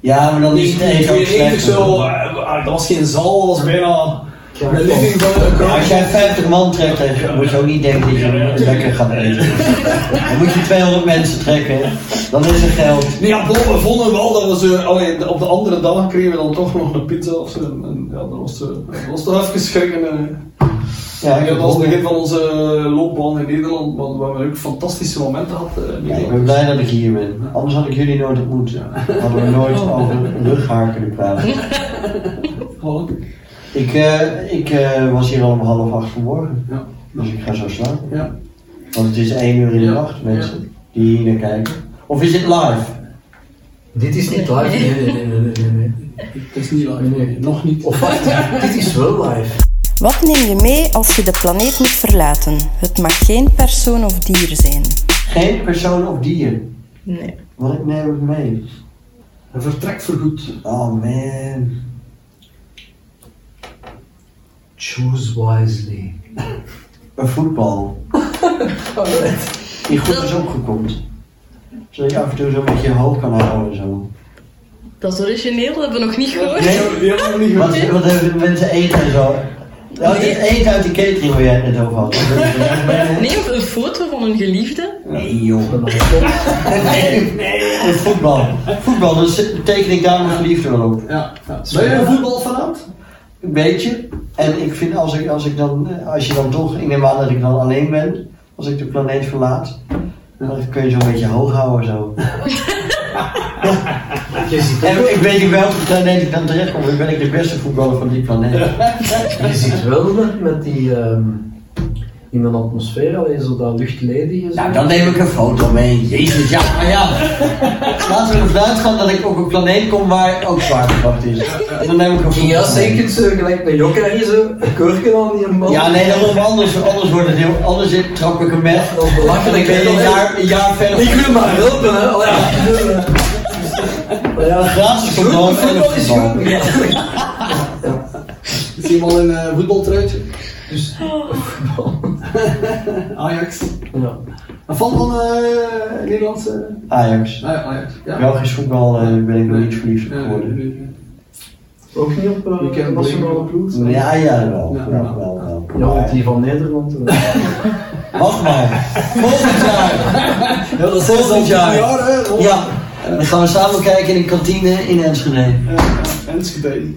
Ja, maar dan is het eten ook
1992
slecht.
zo. eh, eh, dat was geen zaal, dat was bijna
Ja,
de living van de
Ja, Als jij 50 man trekt, dan moet je ook niet denken dat je lekker gaat eten. Dan moet je 200 mensen trekken, dan is er geld.
Nee, ja, bon, we vonden wel dat we ze. Allee, op de andere dag kregen we dan toch nog een pizza of zo. En, en ja, dat was, eh, dat was toch even schrikken. eh.
Ja, ik
Ja, dat
heb
was het
honger.
begin van onze eh, loopbaan in Nederland, want we hebben ook fantastische momenten gehad. eh, in
Ja, ik
Nederland.
ben blij dat ik hier ben. Anders had ik jullie nooit ontmoet. Hadden we nooit over luchthaar kunnen praten.
Voilà.
Ik, eh, ik eh, was hier al om half acht vanmorgen.
Ja.
Dus ik ga zo slapen.
Ja.
Want het is één uur in de
Ja,
nacht, mensen die hier naar kijken. Of is het live?
Dit is niet live. Nee, nee, nee, nee, nee, nee.
Het is niet live, nee, nog niet.
Of wacht, dit is wel live.
Wat neem je mee als je de planeet moet verlaten? Het mag geen persoon of dier zijn.
Geen persoon of dier.
Nee.
Wat neem ik mee?
Hij vertrekt voorgoed.
Oh man.
Choose wisely.
Een voetbal. Die goed is opgekomt. Zodat je af en toe zo met je hoofd kan houden. Zo.
Dat is origineel, dat hebben we nog niet gehoord.
Nee,
Die hebben we niet
wat, wat hebben de mensen eten en zo? Ja, het is eten uit de catering waar jij het net over had.
Nee, een foto van een geliefde.
Nee joh. Nee, nee. Het is voetbal. Voetbal, dus teken ik daar mijn geliefde wel op.
Ja. ja. Ben je een voetbalfanaat?
Een beetje. En ik vind als ik, als ik dan, eh, als je dan toch, ik neem aan dat ik dan alleen ben, als ik de planeet verlaat, dan kun je zo'n beetje hoog houden zo.
Je ziet,
En ik weet niet welke planeet ik dan terechtkom, dan ben ik de beste voetballer van die planeet.
je ziet wel met, met die ehm, in een atmosfeer, alleen zo dat luchtledige. en zo.
Nou, dan neem ik een foto mee. Jezus, ja, maar Ah, ja. Laten we ervan uitgaan dat ik op een planeet kom waar ook zwaartekracht is. En dan neem ik een foto
Ja,
mee.
zeker zo, gelijk bij Jokker hier zo, een kurken aan die man.
Ja, nee, dat moet anders, anders wordt het heel... Anders zit- trap ik hem weg.
Dat is belachelijk,
Dan ben je
hè?
een jaar, een jaar verder.
Ik wil maar helpen, hè. Oh, ja. Oh, ja.
Gratis
Goed,
voetbal.
voetbal is
voetbal.
goed. Ja.
Is iemand in een eh, voetbaltruitje?
Dus,
Ajax.
ja.
Een fan van eh Nederlandse...
Ajax.
Ah, ja, Ajax. Ja.
Belgisch voetbal eh, ben ik nog niet verliefd op
Ja, nee,
geworden.
nee, nee.
Ook niet op eh,
Ik heb
nationale
Blink.
ploeg.
Ja, ja, wel.
Ja.
Ja, wel, wel.
Ja, want die van Nederland. eh.
Wacht maar. Volgend jaar.
Ja, dat is
Volgend jaar.
hè? Oh.
Ja. Dan gaan we samen kijken in de kantine in Enschede.
Ja, ja, Enschede.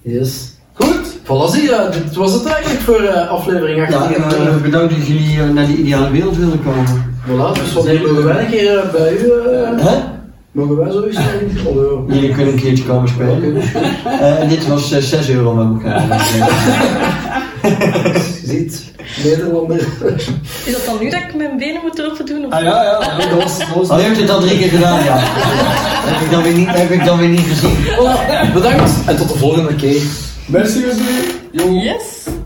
Yes.
Goed.
Voilà, zie je, dit was het eigenlijk voor eh, aflevering
Ja,
18.
en, eh, bedankt dat jullie eh, naar die ideale wereld wilden komen.
Voilà, dus wat mogen wij een keer eh, bij u? eh,
Hè?
mogen wij zoiets doen? Oh, ja.
Jullie kunnen een keertje komen spelen. Eh, en dit was eh, 6 euro met elkaar.
Je eh, ziet, Nederlander.
Is dat dan nu dat ik mijn benen moet open doen? Of?
Ah ja, ja. ja, Dat was... Dat was
Oh, je hebt het al drie keer gedaan, ja. heb, ik dan weer niet, heb ik dan weer niet gezien.
Voilà, bedankt en tot de volgende keer.
Merci, merci.
Yes.